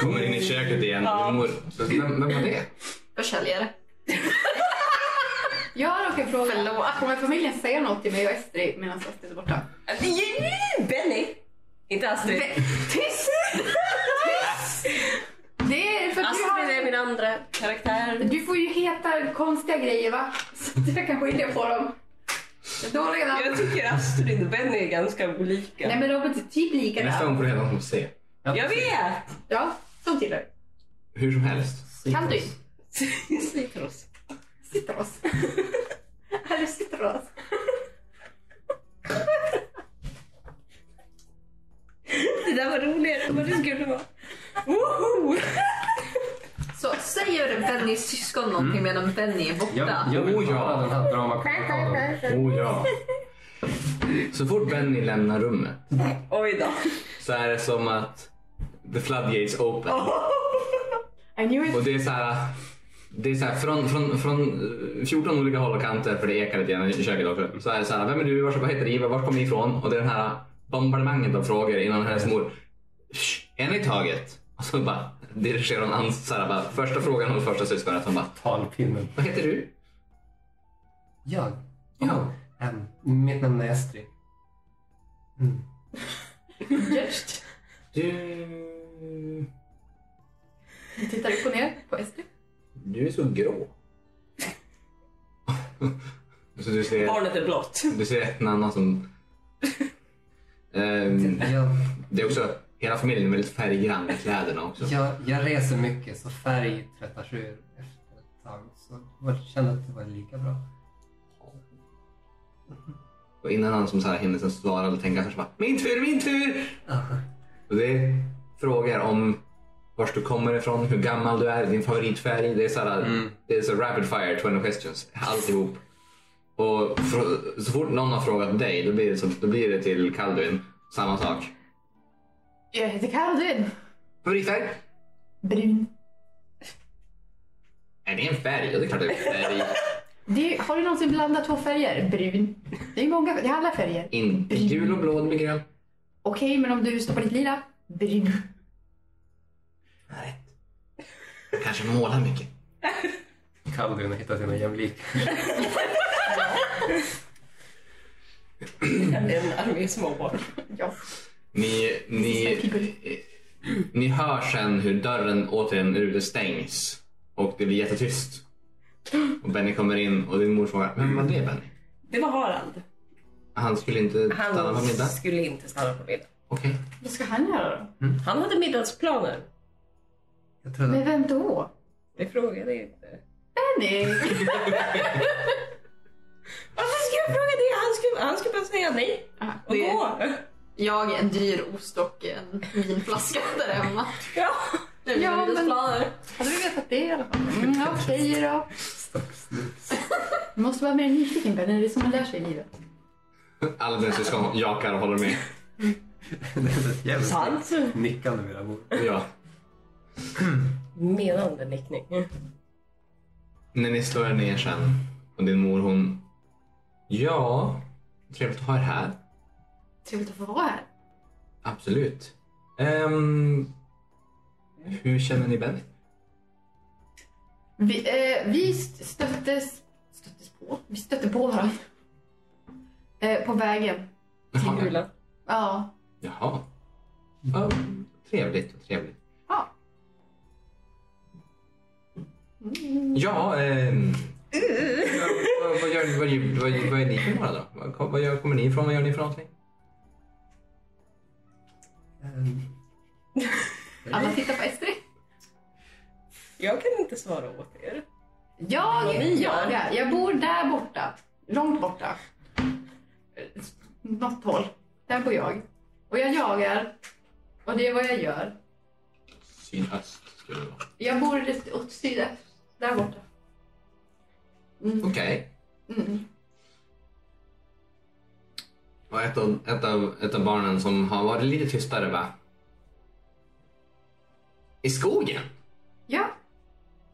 Kommer in i köket igen. Ja. Mor, vem, vem var det? Försäljare. Jag råkar fråga. Kommer familjen säga något till mig och Estrid medan Astrid är borta? Alltså, Benny! Inte Astrid. Tyst! Tyst! Det är för att du, Astrid Alltså, är har, min andra karaktär. du får ju heta konstiga grejer va? Så att jag kan skilja på dem. Det är Dåliga namn. Jag tycker Astrid och Benny är ganska olika. Nej men de är typ lika Nästa där. gång får du redan se. Jag vet! Ja, som tillhör. Hur som helst. Kan du? Citros. Citros. Här är citros. Det där var roligare än vad det skulle vara. Woho! Så säger Bennys syskon någonting medan Benny är borta? Jag, jag Oh, vill Mm. ja. höra den här dramakommentaren. Oh ja. Så fort Benny lämnar rummet Oj då. så är det som att the floodgates open. I knew it. Och det är så här, det är så här från, från, från eh, 14 olika håll och kanter, för det ekar lite grann i köket också. Så är det så här, vem är du, vars, vad heter Iva, var kommer ni ifrån? Och det är den här bombardemanget av frågor innan hennes mor. "Shh, En i taget. Och så bara dirigerar hon ans, så här, bara, första frågan hos första syskonet. Hon bara, Talpinnen. vad heter du? Jag? Ja. Ehm, mitt namn är Estrid. Mm. Just. Du, Tittar upp och ner på Estrid. du är så grå. så du ser, Barnet är blått. du ser en annan som... Ehm, Jag, Det är också, hela familjen är väldigt färggrann i kläderna också. jag, jag reser mycket så färg tvättas ur efter ett tag. Så jag kände att det var lika bra. Och innan han som så här hinner sen svara eller tänka så bara Min tur, min tur! Aha. Och det är frågor om vart du kommer ifrån, hur gammal du är, din favoritfärg. Det är så här, det är så rapid fire 20 questions, alltihop. Och fr- så fort någon har frågat dig, då blir det, så, då blir det till Calvin. Samma sak. Jag heter Calvin. Favoritfärg? Brun. Är det en färg? Ja, det är klart det är en färg. Det, har du någonsin blandat två färger? Brun. Det är många, det är alla färger. Inte gul och blå, det blir grön. Okej, men om du stoppar ditt lila? Brun. Nej. Jag Kanske målar mycket. Kaldun har hittat sina jämlikar. En armé småbarn. Ja. Ni, ni, This is my people. eh, ni hör sen hur dörren återigen ute stängs och det blir jättetyst. Och Benny kommer in och din mor frågar Vem var det Benny? Det var Harald. Han skulle inte stanna på Han middag? skulle inte stanna på middag. Okej. Vad ska han göra då? Han hade middagsplaner. Jag trodde Med vem då? Det frågade jag inte. Benny! Varför ska jag fråga det? Han skulle, han skulle bara säga nej Ah, och det- gå. Jag, en dyr ost och en vinflaska där hemma. Ja. Det är mina Ja, men- middagsplaner. Hade du vetat det i alla fall? Mm, Okej då. Du måste vara mer nyfiken Benny, det är så man lär sig i livet. Alla dina syskon jakar och håller med. det är ett jävligt Sant. nickande vid det här bordet. Ja. Menande nickning. När ni slår er ner sen och din mor hon Ja, Trevligt att ha er här. Trevligt att få vara här. Absolut. Ehm, hur känner ni Benny? Vi, eh, vi st- stöttes, stöttes på. Vi stötte på varandra. Eh, på vägen. Till Jaha. Gulan. Ja. Jaha. Ja, trevligt, vad trevligt. Ja. Ja, ehm, vad, vad, gör, vad, gör- vad, gör- vad är ni för några då? Vad, kom- vad gör, kommer ni ifrån? Vad gör ni för någonting? Ehm, Alla tittar på Estrid. Jag kan inte svara åt er. Jag, Vad ni gör? jag, jag, jag bor där borta. Långt borta. Eh, Något håll. Där bor jag. Och jag jagar. Och det är vad jag gör. Sydöst skulle det vara. Jag bor lite åt sydöst. Där borta. Mm. Okej. Mm. Och ett av, ett, av, ett av barnen som har varit lite tystare bara... I skogen? Ja.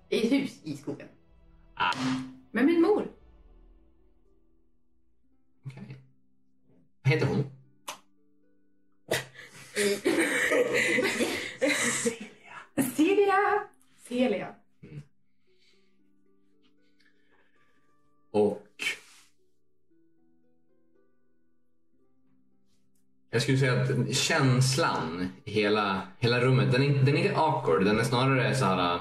I ett hus i skogen. Ah. Med min mor. Okej. Vad heter hon? Celia. Celia. Och... Jag skulle säga att känslan i hela, hela rummet, den är, inte- den är inte awkward, den är snarare så här...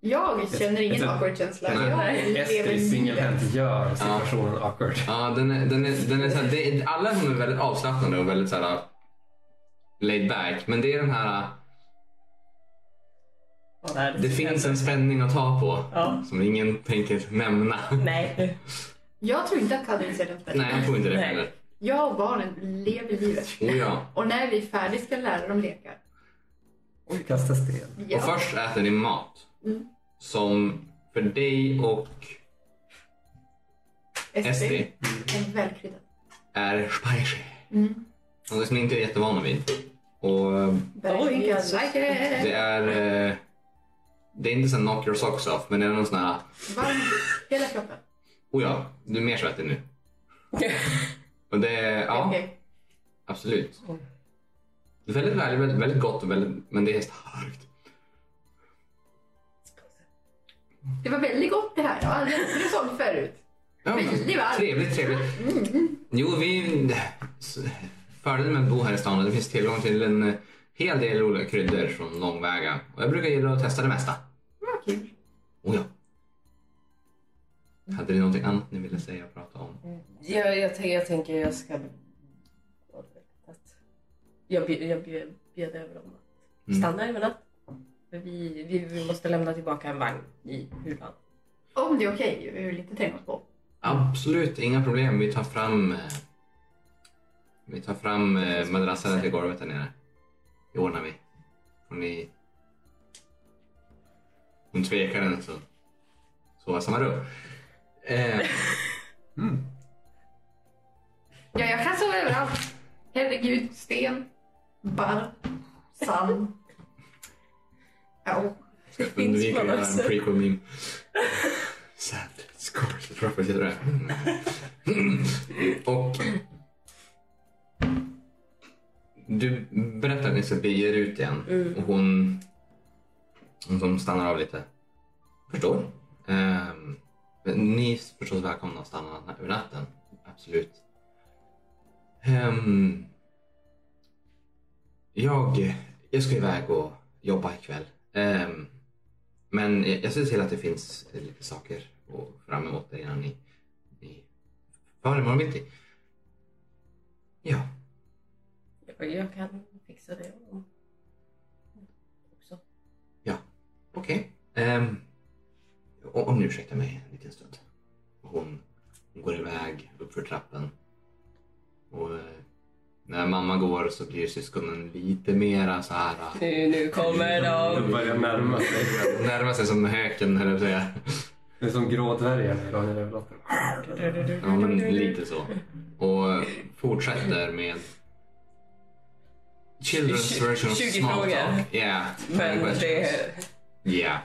Jag känner ingen awkward känsla. Nej. Jag lever Estrid livet. singelhänt gör situationen awkward. Ja, den är, den är, den är så här, det är, alla som är väldigt avslappnade och väldigt så här laid back, men det är den här... Vad är Det som finns händer? en spänning att ta på Ja. som ingen tänker nämna. Nej. Jag tror inte att Kadri ser den spänningen. Nej, jag tror inte det Nej. heller. Jag och barnen lever livet. Oh, ja. Och när vi är färdiga ska lära dem lekar. Kasta sten. Ja. Och först äter ni mat. Mm. Som för dig och Estri En välkryddad. är spagetti. Mm. Något som ni inte är jättevana vid. Och eh, Very good. Jesus. Like it. det är... eh, Det är inte sån knock your socks off, men det är någon sån här... Varmt. Hela kroppen. Oh ja, du är mer svettig nu. Och det är... Ja, Okej. absolut. Det är väldigt, väldigt, väldigt, väldigt gott, och väldigt, men det är starkt. Det var väldigt gott det här. Jag har aldrig ätit sånt förut. Ja, men- Väldigt varmt. trevligt, trevligt. Mm. Jo, vi... s- Fördelen med att bo här i stan är att det finns tillgång till en eh, hel del olika kryddor från långväga. Och jag brukar gilla att testa det mesta. Vad kul. Oh ja. Hade ni någonting annat ni ville säga och prata om? Jag, jag, tänker- jag tänker jag ska... att Jag, bjud- jag bjud- bjöd över dem att Mm. stanna över natt. För Vi, vi, vi måste lämna tillbaka en vagn i Hulan. Om det är okej. Vi vill inte tränga oss på. Absolut, inga problem. Vi tar fram... eh, Vi tar fram eh, madrasserna till golvet där nere. Det ordnar vi. Får ni... Hon tvekar en så... Sova i samma rum. Eh, Mm. Ja, jag kan sova överallt. Herregud. Sten. Barr. Sand. Ja. Ska Det finns undvika att göra en balanser. prequel meme. Sad, scorched prophecy. tror jag. Mm. Och... Du berättar att ni ska bege er ut igen och hon, hon som stannar av lite. Förstår. Ehm, ni är förstås välkomna att stanna na- över natten. Absolut. Ehm, jag, jag ska iväg och jobba ikväll. Ehm, men jag, jag ser till att det finns eh, lite saker och fram emot det innan ni, ni far imorgon bitti. Ja, Jag, jag kan fixa det. om- Också. okej. Ehm, o- om ni ursäktar mig en liten stund. Och Hon, hon går iväg uppför trappen. Och eh, när mamma går så blir syskonen lite mera så här... eh, Nu, nu kommer de. De börjar närma sig. Närma sig som höken, höll jag på att säga. Det är som grådvärgarna i Daniel Rövardotter. Ja, men lite så. Och eh, fortsätter med Children's Tju- version of 20 small frågor. talk. Yeah. Men det, är, Yeah.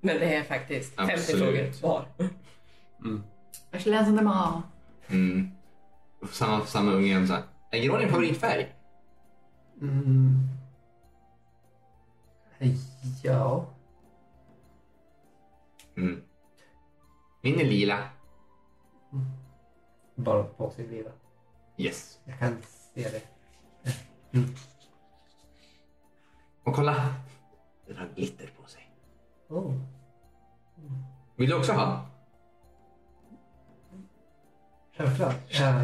men det är faktiskt 50 Absolut. frågor var. Jag ska läsa dem av. Mm. samma, samma unge igen såhär. Är grå din favoritfärg? Mm. Ja. Mm. Min är lila. Bara på sin lila. Yes. Jag kan se det. Och kolla. Den har glitter på sig. Oh. Vill du också ha? Självklart. Ja.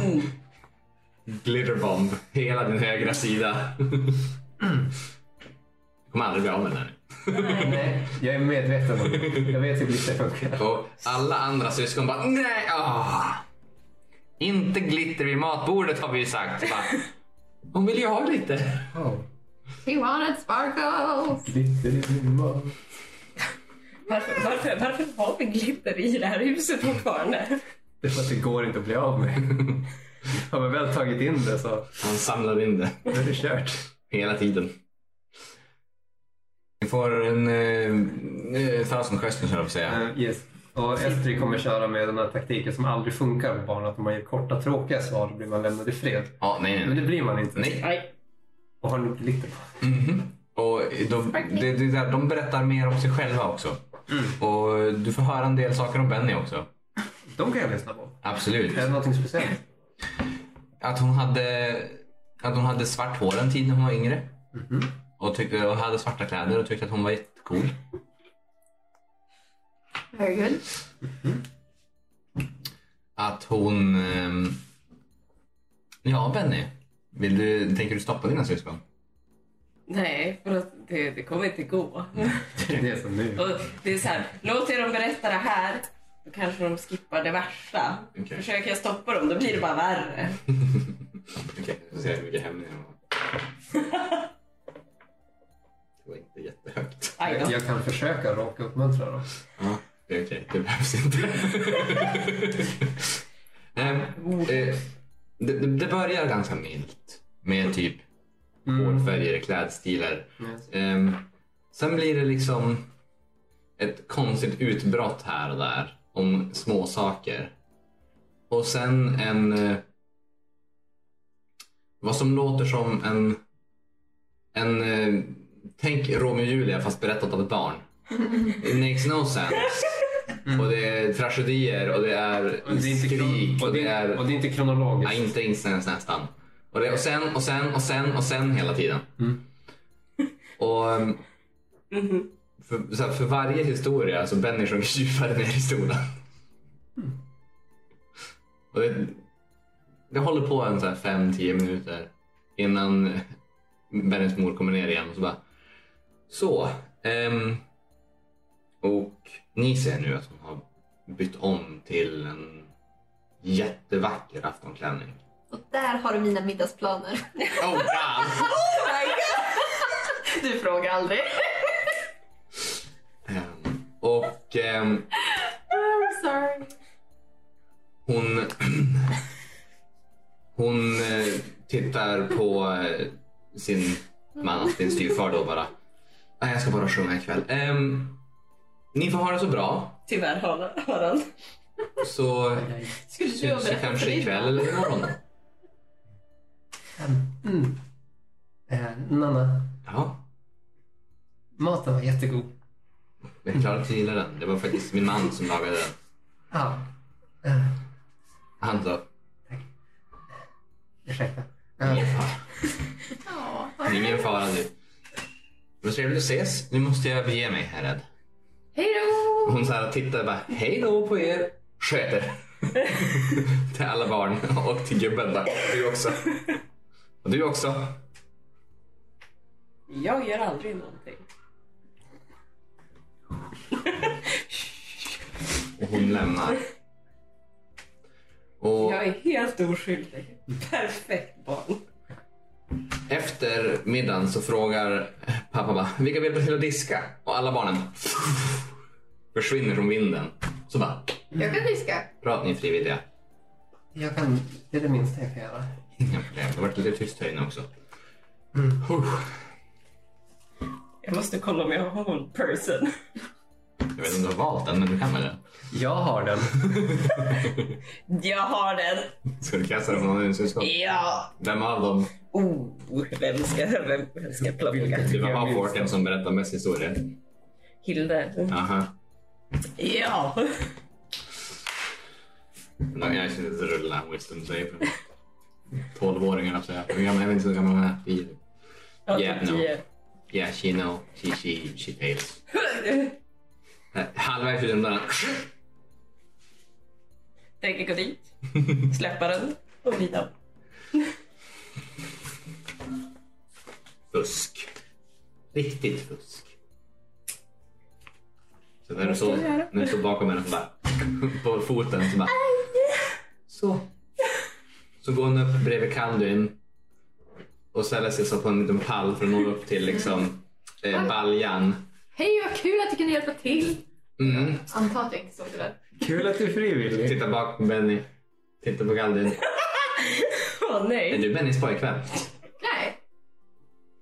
Mm. Glitterbomb. Hela din högra sida. Du kommer aldrig bli av med den här nu. Nej, jag är medveten om det. Jag vet hur glitter funkar. Och alla andra syskon bara nej, ah. Inte glitter vid matbordet har vi ju sagt. Bara, Hon vill ju ha glitter. Oh. He wanted sparkles! Glitter i min mat. Varför, varför, varför har vi glitter i det här huset fortfarande? Det är för att det går inte att bli av med. Har man väl tagit in det så Han samlar in det är det kört. hela tiden. Vi får en eh, eh, thousand questions höll jag på att säga. Eh, yes. Och Estri kommer köra med den här taktiken som aldrig funkar med barn. Att om man ger korta tråkiga svar då blir man lämnad i fred. Ja, nej, Men nej, det blir man inte. nej. nej. Nej. Och har nog glitter på. Mhm. Och de, det, det där, de berättar mer om sig själva också. Mm. Och du får höra en del saker om Benny också. De kan jag lyssna på. Absolut. Är det någonting speciellt? Att hon hade, att hon hade svart hår en tid när hon var yngre. Och, tyckte, och hade svarta kläder och tyckte att hon var jättecool. Very good. Att hon... ehm, Ja, Benny. Vill du, tänker du stoppa dina syskon? Nej, för att det, det kommer inte gå. Det är det som nu. Och det är så här, låter jag dem berätta det här, då kanske de skippar det värsta. Okej. Försöker jag stoppa dem, då blir det bara värre. Okej, vi får se hur mycket hämnd jag har. Det var inte jättehögt. Aj då. Jag kan försöka råka uppmuntra dem. Ja, det är okej. Det behövs inte. Ehm, eh, det, det, det börjar ganska milt med typ hårfärger, klädstilar. Yes. Ehm, sen blir det liksom ett konstigt utbrott här och där om små saker. Och sen en... eh, Vad som låter som en... en eh, tänk Romeo och Julia fast berättat av ett barn. It makes no sense. Och det är tragedier och det är, Mm. Och det är inte, skrik kron- och det är, och det är inte kronologiskt. Ja, inte instans nästan. Och, det, och sen och sen och sen och sen hela tiden. Mm. Och um, Mhm. för, så här, för varje historia så Benny sjunker djupare ner i stolen. Och det, det håller på en så här 5-10 minuter innan Bennys mor kommer ner igen och så bara. Så. ehm, och ni ser nu att hon har bytt om till en jättevacker aftonklänning. Och där har du mina middagsplaner. Oh damn! Du frågar aldrig. Ehm, och ehm, I'm sorry. hon... hon eh, tittar på eh, sin man, alltså din styvfar då bara. Nej, jag ska bara sjunga ikväll. Ehm, ni får ha det så bra. Tyvärr, Harald- Harald. Så Skulle du ha syns vi berättat för kanske dig? ikväll eller imorgon. Mm. Eh, Nanna, Ja, maten var jättegod. det är klart att du gillar den. Det var faktiskt min man som lagade den. Ja. Eh, Han sa, ursäkta. Eh, Ja. det är min fara nu. Det var trevligt att ses. Nu måste jag bege mig, herred. Hej då! Och Hon så här tittar och bara, hej då på er. Sköt er. till alla barn och till gubben bara, du också. Och du också. Jag gör aldrig någonting. Och hon lämnar. Och Jag är helt oskyldig. Perfekt barn. efter middagen så frågar pappa bara, vilka vill till att diska? Och alla barnen försvinner från vinden. Så bara, Jag kan diska. pratar ni frivilliga? jag kan, det är det minsta jag kan göra. Inga problem. Det vart lite tyst här inne också. Jag måste kolla om jag har whole person. Jag vet inte om du har valt den, men du kan väl den? Jag har den. Jag har den. Ska du kasta den på någon i din syskon? Ja. Vem av dem? Oh, vem ska, vem, vem ska jag plocka? Det var Halforken som berättar mest historier. Hilde. Aha. Ja. No, jag ska inte rulla en wisdom save. 12-åringen höll jag på att säga. Hur gammal- Jag vet inte hur gammal hon är. Tio. Jag Yeah, tar no. tio. Yeah, she know. She, she, she fails. Eh, Halvvägs ut genom dörren. Tänker gå dit, släppa den och vidare. Fusk. Riktigt fusk. Så när du såg, när du såg bakom henne så bara, på foten så bara... Så. Så går hon upp bredvid Kandyn och ställer sig så på en liten pall för att nå upp till liksom, eh, baljan. Hej, vad kul att du kunde hjälpa till. Mm. Antar att jag inte såg det där. Kul att du är frivillig. Titta bak på Benny. Titta på Kandyn. Åh Är nej. du Bennys pojkvän? Nej,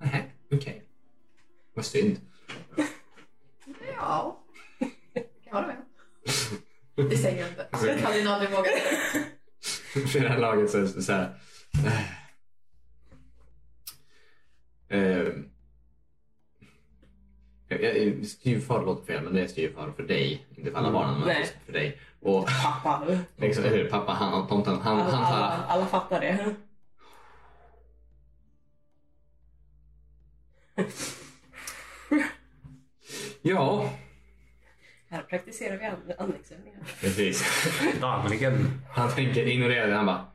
Nej, okej. Vad synd. ja. Jag håller med. Det säger jag inte. Jag hade ju aldrig vågat. För det här laget så är det så här. Eh, jag- jag- Styvfar låter fel, men det är styvfar för dig. Inte för alla barnen, men Nej. för dig. Och Pappa. liksom, eller hur, pappa, han och tomten, han, Alla, han alla, tar... alla fattar det. Ja, Här praktiserar vi and- andningsövningar. precis. typ Dagligen. Han tänker ignorera det. Han bara.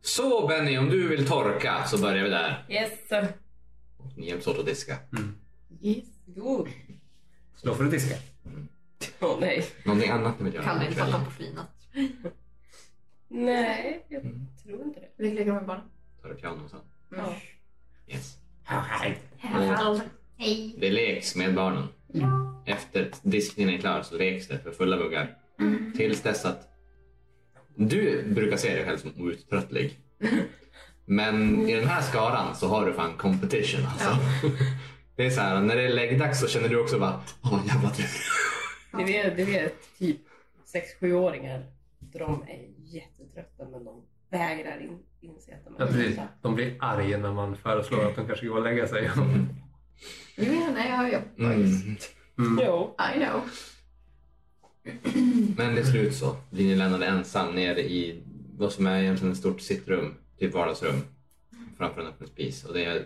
Så Benny, om du vill torka så börjar vi där. Yes. Och Ni hjälps åt att diska. Yes. God. Slå för att diska. Åh nej. Någonting annat ni vill göra? Kan du inte ikväll? fatta på flinat. Nej, jag tror inte det. Vi leker med barnen. Tar du pianon sen? Ja. Yes. Hej. Det Eh, leks med barnen. Efter att diskningen är klar så leks det för fulla muggar. Tills dess att... Du brukar se dig själv som outtröttlig. Men i den här skaran så har du fan competition alltså. Det är så här, när det är läggdags så känner du också bara Åh, jävla tur. Du vet, du vet typ 6-7-åringar. De är jättetrötta men de vägrar in, inse att de Ja, är precis. trötta. De blir arga när man föreslår att de kanske går och lägger sig. Jo, ja, nej, jag har jobbat. Mm. Mm. Jo. I know. Men det är slut så. Blir ni lämnade ensam nere i vad som är egentligen ett stort sittrum, typ vardagsrum. Framför en öppen spis. Och det är eh,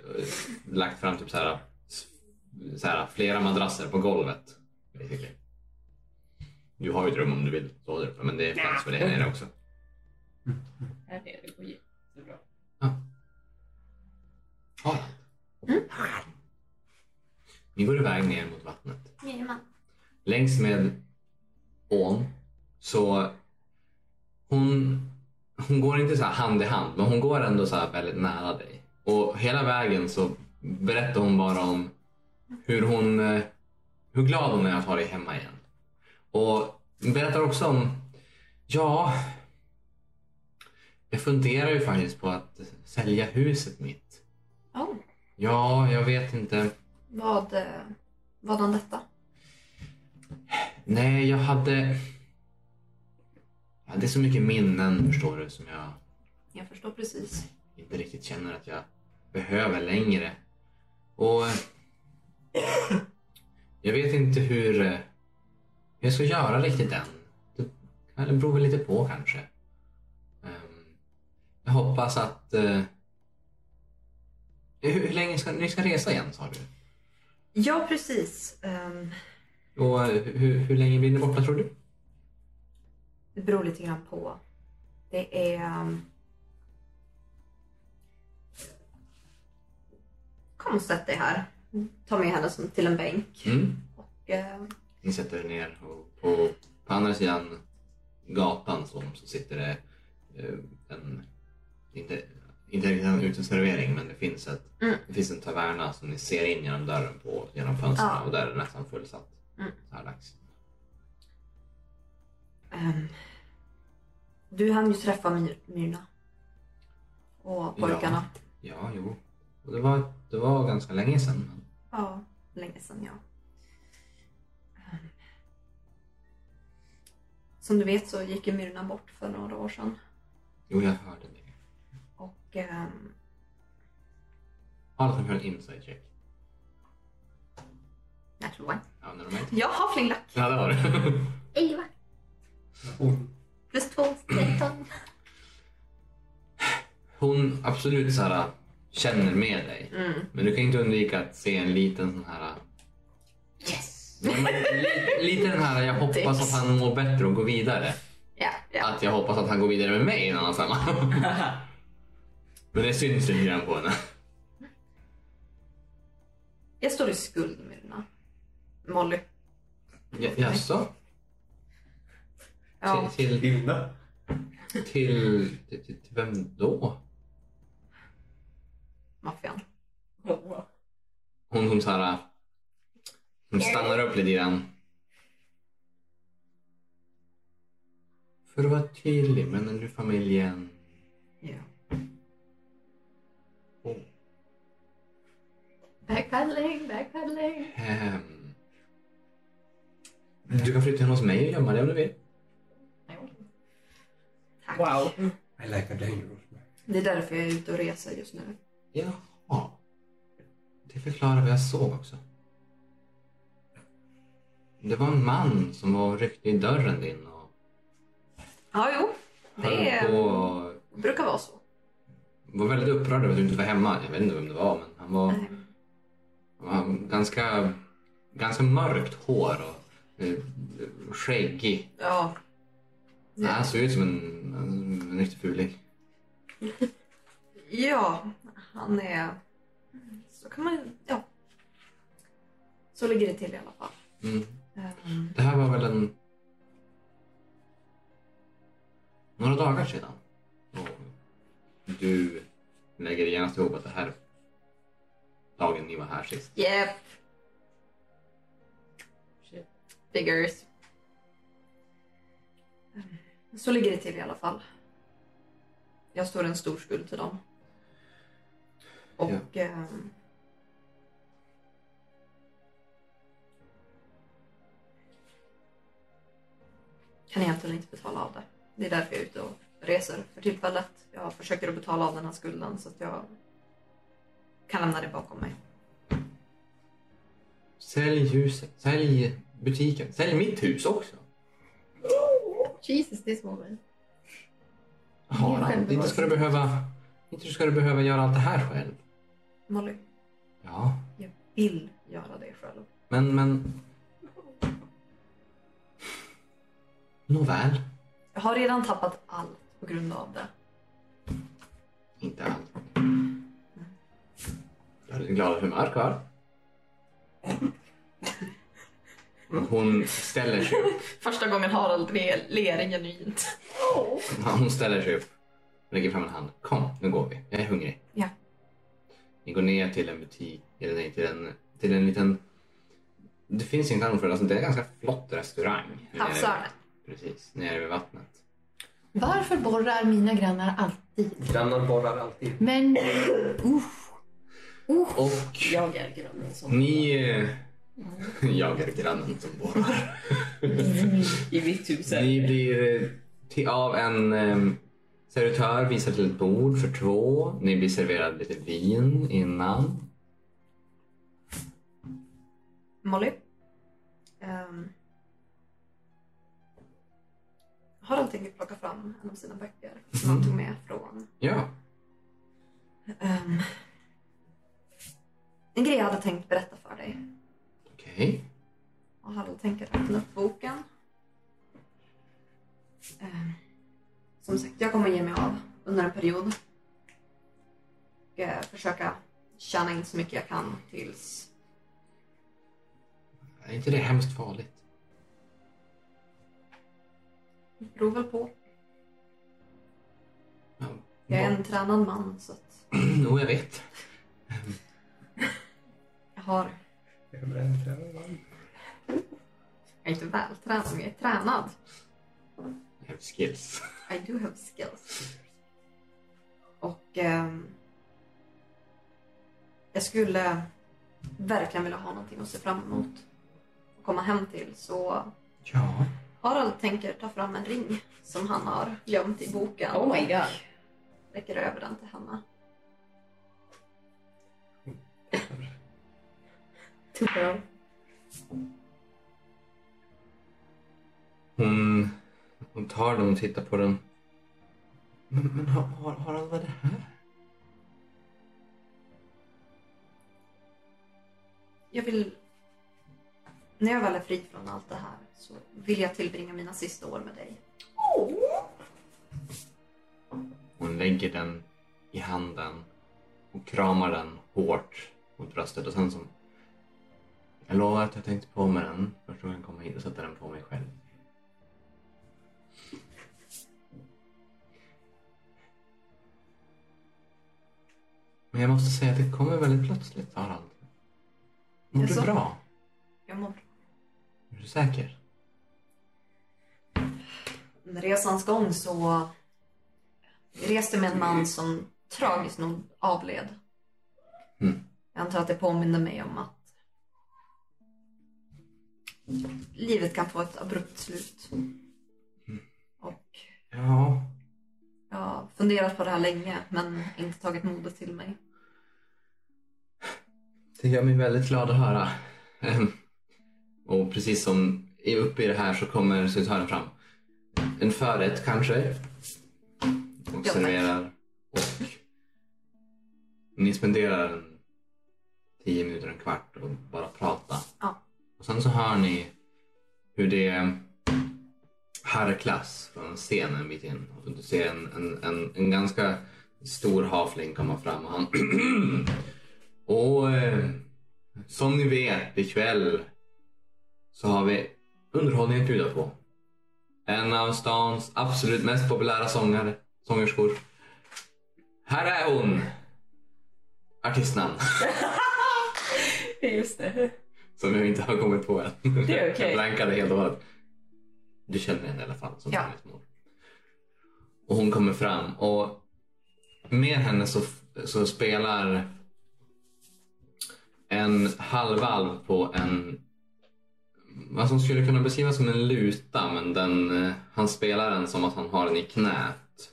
lagt fram typ så här, s- så här, flera madrasser på golvet. basically. Du har ju ett rum om du vill stå där uppe, men det är plats för dig nere också. Här är det. går jättebra. Harald. Ni går iväg ner mot vattnet. Längs med ån så hon, hon går inte så här hand i hand men hon går ändå så här väldigt nära dig. Och hela vägen så berättar hon bara om hur hon eh, hur glad hon är att ha dig hemma igen. Och berättar också om ja jag funderar ju faktiskt på att sälja huset mitt. Oh. Ja, jag vet inte. Vad, eh, vad om detta? Nej, jag hade... Jag hade så mycket minnen, förstår du, som jag Jag förstår precis. inte riktigt känner att jag behöver längre. Och... Jag vet inte hur eh, jag ska göra riktigt än. Det ja, det beror väl lite på kanske. Ehm, Jag hoppas att... eh, Hur hur länge ska ni ska resa igen, sa du? Ja, precis. Ehm, Och eh, hur, hur länge blir ni borta, tror du? det beror lite grann på. Det är... ehm, Kom och sätt dig här. Ta med henne som till en bänk. Mm. Eh, Ni sätter er ner och på, på andra sidan gatan så, så sitter det eh, en, inte, inte riktigt en uteservering men det finns, ett, Mm. det finns en taverna som ni ser in genom dörren på, genom fönstren Ja. och där är det nästan fullsatt. Mm. Så här dags. ehm, Du hann ju träffa Myr- Myrna. Och pojkarna. Ja, jo. Och det, var, det var ganska länge sedan. men Ja, länge sedan ja. Ehm, Som du vet så gick ju Myrna bort för några år sedan. Jo, jag hörde det. Och ehm, Allt som gör en inside check. natural one. Använder de mig? Jag har flinglack. Ja, det har du. 11 Hon plus 2, 13. Hon absolut så här, känner med dig. Mm. Men du kan inte undvika att se en liten sån här... äh, Yes! Men, li, lite den här, jag hoppas att han mår bättre och går vidare. Ja, ja. Att jag hoppas att han går vidare med mig i en annan femma. Men det syns lite grann på henne. Jag står i skuld med Myrna. Molly. Ja- Jaså? Ja. Till, till, Hilda. till, till, till vem då? maffian. Hon som så här... äh, Hon stannar upp lite grann. För att vara tydlig, menar du familjen? Ja. Oh. Backpaddling, backpaddling. Ehm. Du kan flytta hem hos mig och gömma dig om du vill. Tack. Wow. I like a dangerous man. Det är därför jag är ute och reser just nu. Jaha. Det förklarar vad jag såg också. Det var en man som var och ryckte i dörren din och Ja, jo. höll Det är- på och brukar vara så. var väldigt upprörd över att du inte var hemma. Jag vet inte vem det var men han var, Nej. han var ganska, ganska mörkt hår och eh, skäggig. Ja. Nej, Han såg ut som en, en, en riktig fuling. Ja, han är... Så kan man... Ja. Så ligger det till i alla fall. Mm. Ehm, Det här var väl en... Några dagar sedan. Och du lägger genast ihop att det här... Dagen ni var här sist. Yep. Figures. Ehm, Så ligger det till i alla fall. Jag står en stor skuld till dem. Och... ehm, kan egentligen inte betala av det. Det är därför jag är ute och reser för tillfället. Jag försöker att betala av den här skulden så att jag kan lämna det bakom mig. Sälj huset. Sälj butiken. Sälj mitt hus också. Jesus, this woman. Harald, inte ska du behöva... Inte ska du behöva göra allt det här själv. Molly, Ja, jag vill göra det själv. men, men... Nåväl. Jag har redan tappat allt på grund av det. Inte allt. Jag är glad humör kvar. Hon ställer sig upp. Första gången Harald re- ler genuint. Hon ställer sig upp. Lägger fram en hand. Kom, nu går vi. Jag är hungrig. Ja. Ni går ner till en butik. Eller nej, till en, till en liten... Det finns inte annat för det. Alltså, det är en ganska flott restaurang. nere- Havsörnen. Precis, nere vid vattnet. Varför borrar mina grannar alltid? Grannar borrar alltid. Men... Uff. Uff. Och Jag är grannen som... ni... eh, Jag är grannen som bor I mitt hus är Ni blir eh, till, av en eh, servitör visad till ett bord för två. Ni blir serverade lite vin innan. Molly. Um, Harald tänker plocka fram en av sina böcker som han tog med från Ja, Ehm, en grej jag hade tänkt berätta för dig. okej. Och Harald tänker öppna upp boken. Ehm, som sagt, jag kommer ge mig av under en period. Och eh, försöka tjäna in så mycket jag kan tills... Är inte det hemskt farligt? Det beror väl på. Ja. Jag är en tränad man så att Jo, jag vet. jag har... Jag bränner henne, man. Jag är inte vältränad, men jag är tränad. Jag har skills. I do have skills. Och ehm, jag skulle verkligen vilja ha någonting att se fram emot och komma hem till. Så Ja. har Harald tänker ta fram en ring som han har gömt i boken Oh my och god. räcker över den till Hanna. Hon, hon tar den och tittar på den. Men, men har, har, har han vad är det här? Jag vill... När jag väl är fri från allt det här så vill jag tillbringa mina sista år med dig. Hon lägger den i handen och kramar den hårt mot bröstet och sen som... Jag lovar att jag tänkte på mig den första gången jag kom hit och satte den på mig själv. Men jag måste säga att det kommer väldigt plötsligt, Harald. Mår du Jaså? bra? Jag mår Är du säker? under resans gång så jag reste med en man som tragiskt nog avled. Mm. Jag antar att det påminner mig om att livet kan få ett abrupt slut. Och Ja. jag har funderat på det här länge men inte tagit modet till mig. Det gör mig väldigt glad att höra. Ehm, Och precis som i- uppe i det här så kommer sutören fram. En förrätt kanske. Och Ja, tack. serverar. Och ni spenderar en tio minuter, en kvart och bara prata. Ja. Och sen så hör ni hur det harklas från scenen en bit in. Och du ser en, en, en, en ganska stor hafling komma fram och han och eh, som ni vet ikväll så har vi underhållning att bjuda på. En av stans absolut mest populära sångare, sångerskor. Här är hon! Artistnamn Just det. som jag inte har kommit på än. Det är okej. Jag blankade helt och hållet. Du känner henne i alla fall som Ja. hennes mor. Och hon kommer fram och med henne så, så spelar en halvvalv på en vad som skulle kunna beskrivas som en luta men den, eh, han spelar den som att han har den i knät.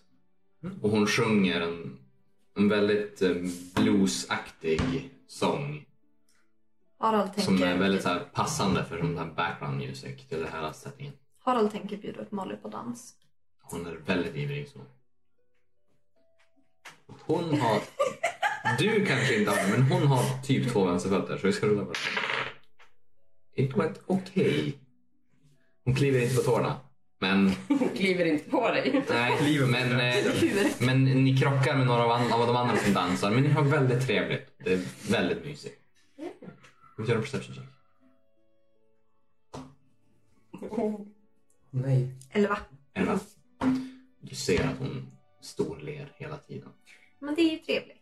Mm. Och hon sjunger en, en väldigt eh, bluesaktig sång. Harald tänker, Som är väldigt så här, passande för sån här background music till den här sättningen. Harald tänker bjuda upp Molly på dans. Hon är väldigt ivrig så. Hon har... Du kanske inte har det, men hon har typ två vänsterfötter så vi ska rulla på det. It went okay. Hon kliver inte på tårna. Men, Hon kliver inte på dig. nej, men, eh, men ni krockar med några av an- av de andra som dansar. Men ni har väldigt trevligt. Det är väldigt mysigt. Ska vi göra en perception check? Nej. Elva. Elva. Du ser att hon storler hela tiden. Men det är ju trevligt.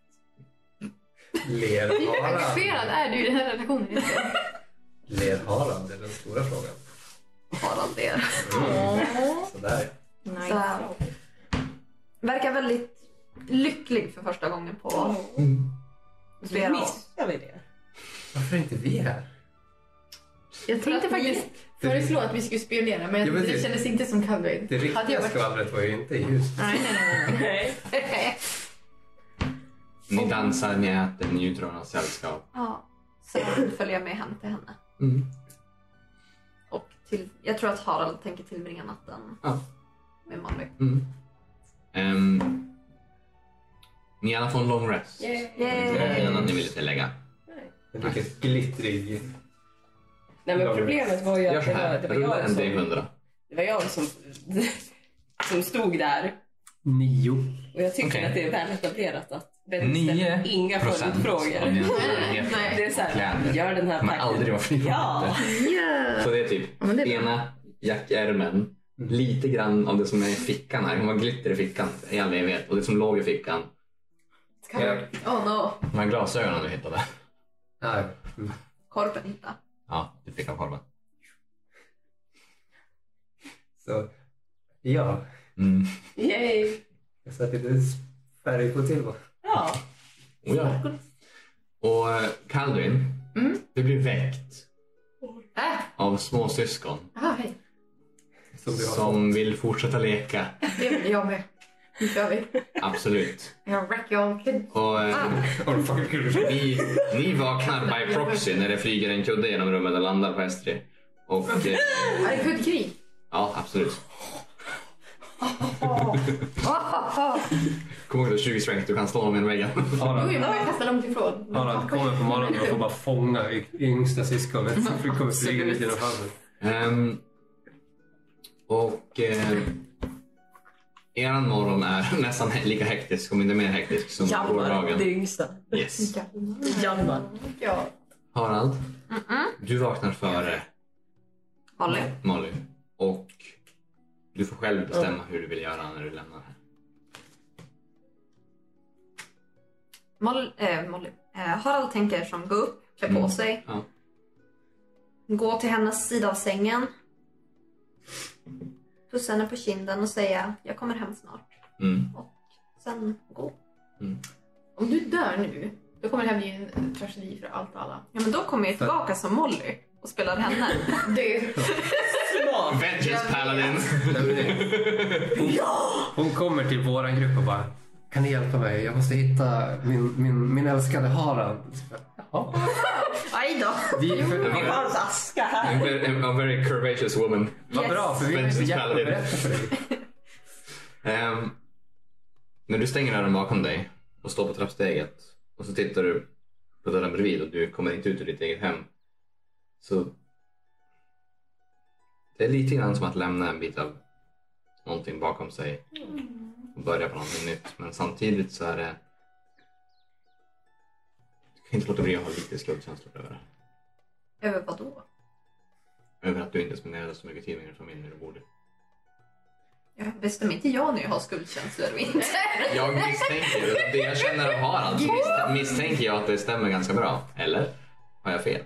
Ler Hur engagerad Harald? är du i den här relationen? egentligen? Ler Harald? Det är den stora frågan. Harald ler. Mm. Sådär. Så, verkar väldigt lycklig för första gången på Oh. flera år. Missar vi det? Varför är inte vi här? Jag tänkte faktiskt föreslå att vi skulle spionera men Ja, jag, men det det- kändes inte som Calvin. Det Hade jag riktiga varit... skvallret var ju inte ljus. Nej, nej, nej. nej. Nej. Ni dansar, ni äter, ni njuter av hans sällskap. ja, sen följer jag med hem till henne. Mm. Och till, jag tror att Harald tänker tillbringa natten Ja. med Molly. Mm. Ehm, ni alla får en long rest. Det var Yay. en annan ni ville tillägga. En mycket glittrig... Nej men problemet var ju Gör att så det var, det här, var rulla jag en som, D100. det var jag som, som stod där. Nio. Och jag tycker Okej. att det är väl etablerat att Benny ställer inga 9 procent av följdfrågor. dina förmögenheter Det är såhär, Kläder. gör den här kommer aldrig vara fri från Ja. Så det är typ Ja, men det är bra. ena jackärmen, lite grann av det som är i fickan här. Hon har glitter i fickan i all evighet och det som låg i fickan. Korp. Oh no, De här glasögonen du hittade. Nej. korpen hitta. Ja, du fick av korven. Så... Ja. Mm. Yay. Jag satte lite färg på tillvaron. Ja. Oh, ja. Och eh, Calvin, Mm. du blir väckt Äh, Ah, av småsyskon aha, hej. Som du har som vill fortsätta leka. Det vill jag med. Nu kör vi. Absolut. Jag wreckar om kid. Och eh, Ah. Oh, fuck, kul. ni, ni vaknar by proxy när det flyger en kudde genom rummet och landar på Estri. Och eh, Är det kuddkrig? ja, absolut. Ah, Oh, Kom ihåg att du har 20 strength, du kan slå dem i väggen. Oj, Harald, vad jag kastar långt ifrån. Harald kommer på morgonen och får bara fånga y- yngsta syskonet som kommer flyga ut genom fönstret. Ehm, och eh, eran morgon är nästan he- lika hektisk, om inte mer hektisk, som Hjalmar, gårdagen. det yngsta. Yes. Hjalmar. Ja. Harald, du vaknar före Molly. Molly och du får själv bestämma hur du vill göra när du lämnar här. Mol, eh, Molly. Eh, Harald tänker som gå upp, klä på Mm. sig. Ja. Gå till hennes sida av sängen. Pussa henne på kinden och säga jag kommer hem snart. Mm. Sen gå. Om du dör nu, då kommer det här bli en tragedi för allt och alla. Ja men då kommer jag tillbaka som Molly och spelar henne. Du, Smart. Vengeance Paladin! Nej, men det- Hon, hon kommer till våran grupp och bara kan ni hjälpa mig? Jag måste hitta min, min, min älskade Harald. Så bara, Jaha. Aj då. Vi, för, En ver- Hans aska här. en ver- A very curvaceous woman. vad bra, för vi har inte Vengeance hjälpt att Paladin. berätta för dig. Ehm, när du stänger dörren bakom dig och står på trappsteget och så tittar du på dörren bredvid och du kommer inte ut ur ditt eget hem. Så det är lite grann som att lämna en bit av någonting bakom sig och börja på någonting nytt. Men samtidigt så är det... Du kan inte låta bli att ha lite skuldkänslor över det. Över vad då? Över att du inte spenderade så mycket tid med din familj när du borde. Jag bestämmer inte jag när jag har skuldkänslor och inte. Jag misstänker, det jag känner av Harald så misst- misstänker jag att det stämmer ganska bra. Eller? Har jag fel?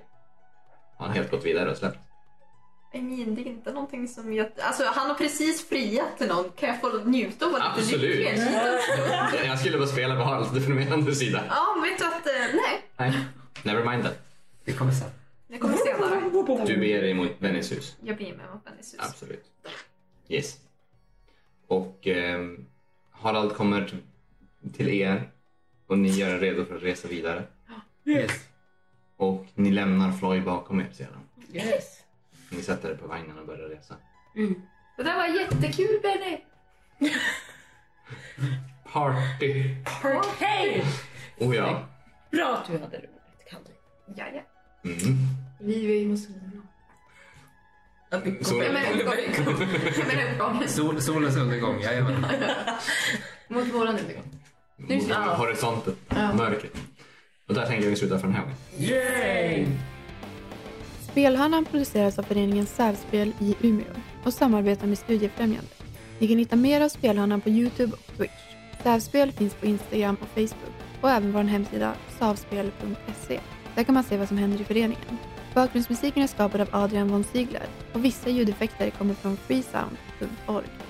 Har han helt gått vidare och släppt? I mean, det är inte någonting som jag... Alltså han har precis friat till någon. Kan jag få njuta av att lite Absolut. lycklig? Jag skulle bara spela på Haralds deprimerande sida. Ja, men vet du att... eh, Nej, Nej, never mind that. Det kommer sen. det kommer senare. Du beger dig mot Bennys hus. Jag beger mig mot Bennys hus. Absolut. Yes. Och ehm, Harald kommer t- till er och ni gör er redo för att resa vidare. Yes. Och ni lämnar Floy bakom er sedan. Yes. Ni sätter er på vagnen och börjar resa. det där var jättekul Benny! Party! Hej! Oh ja. Bra att du hade roligt. Kan du? Ja, ja. Mm. Vi är ju muslimer. Så- Jag menar uppgången. Jag menar uppgången. Sol, solens undergång, jajamän. Mot våran undergång. Mot horisonten, Ja. mörkret. Och där tänker vi sluta för den här gången. Spelhörnan produceras av föreningen Särspel i Umeå och samarbetar med Studiefrämjandet. Ni kan hitta mer av Spelhörnan på Youtube och Twitch. Särspel finns på Instagram och Facebook och även vår hemsida savspel.se. Där kan man se vad som händer i föreningen. Bakgrundsmusiken är skapad av Adrian von Ziegler och vissa ljudeffekter kommer från freesound.org.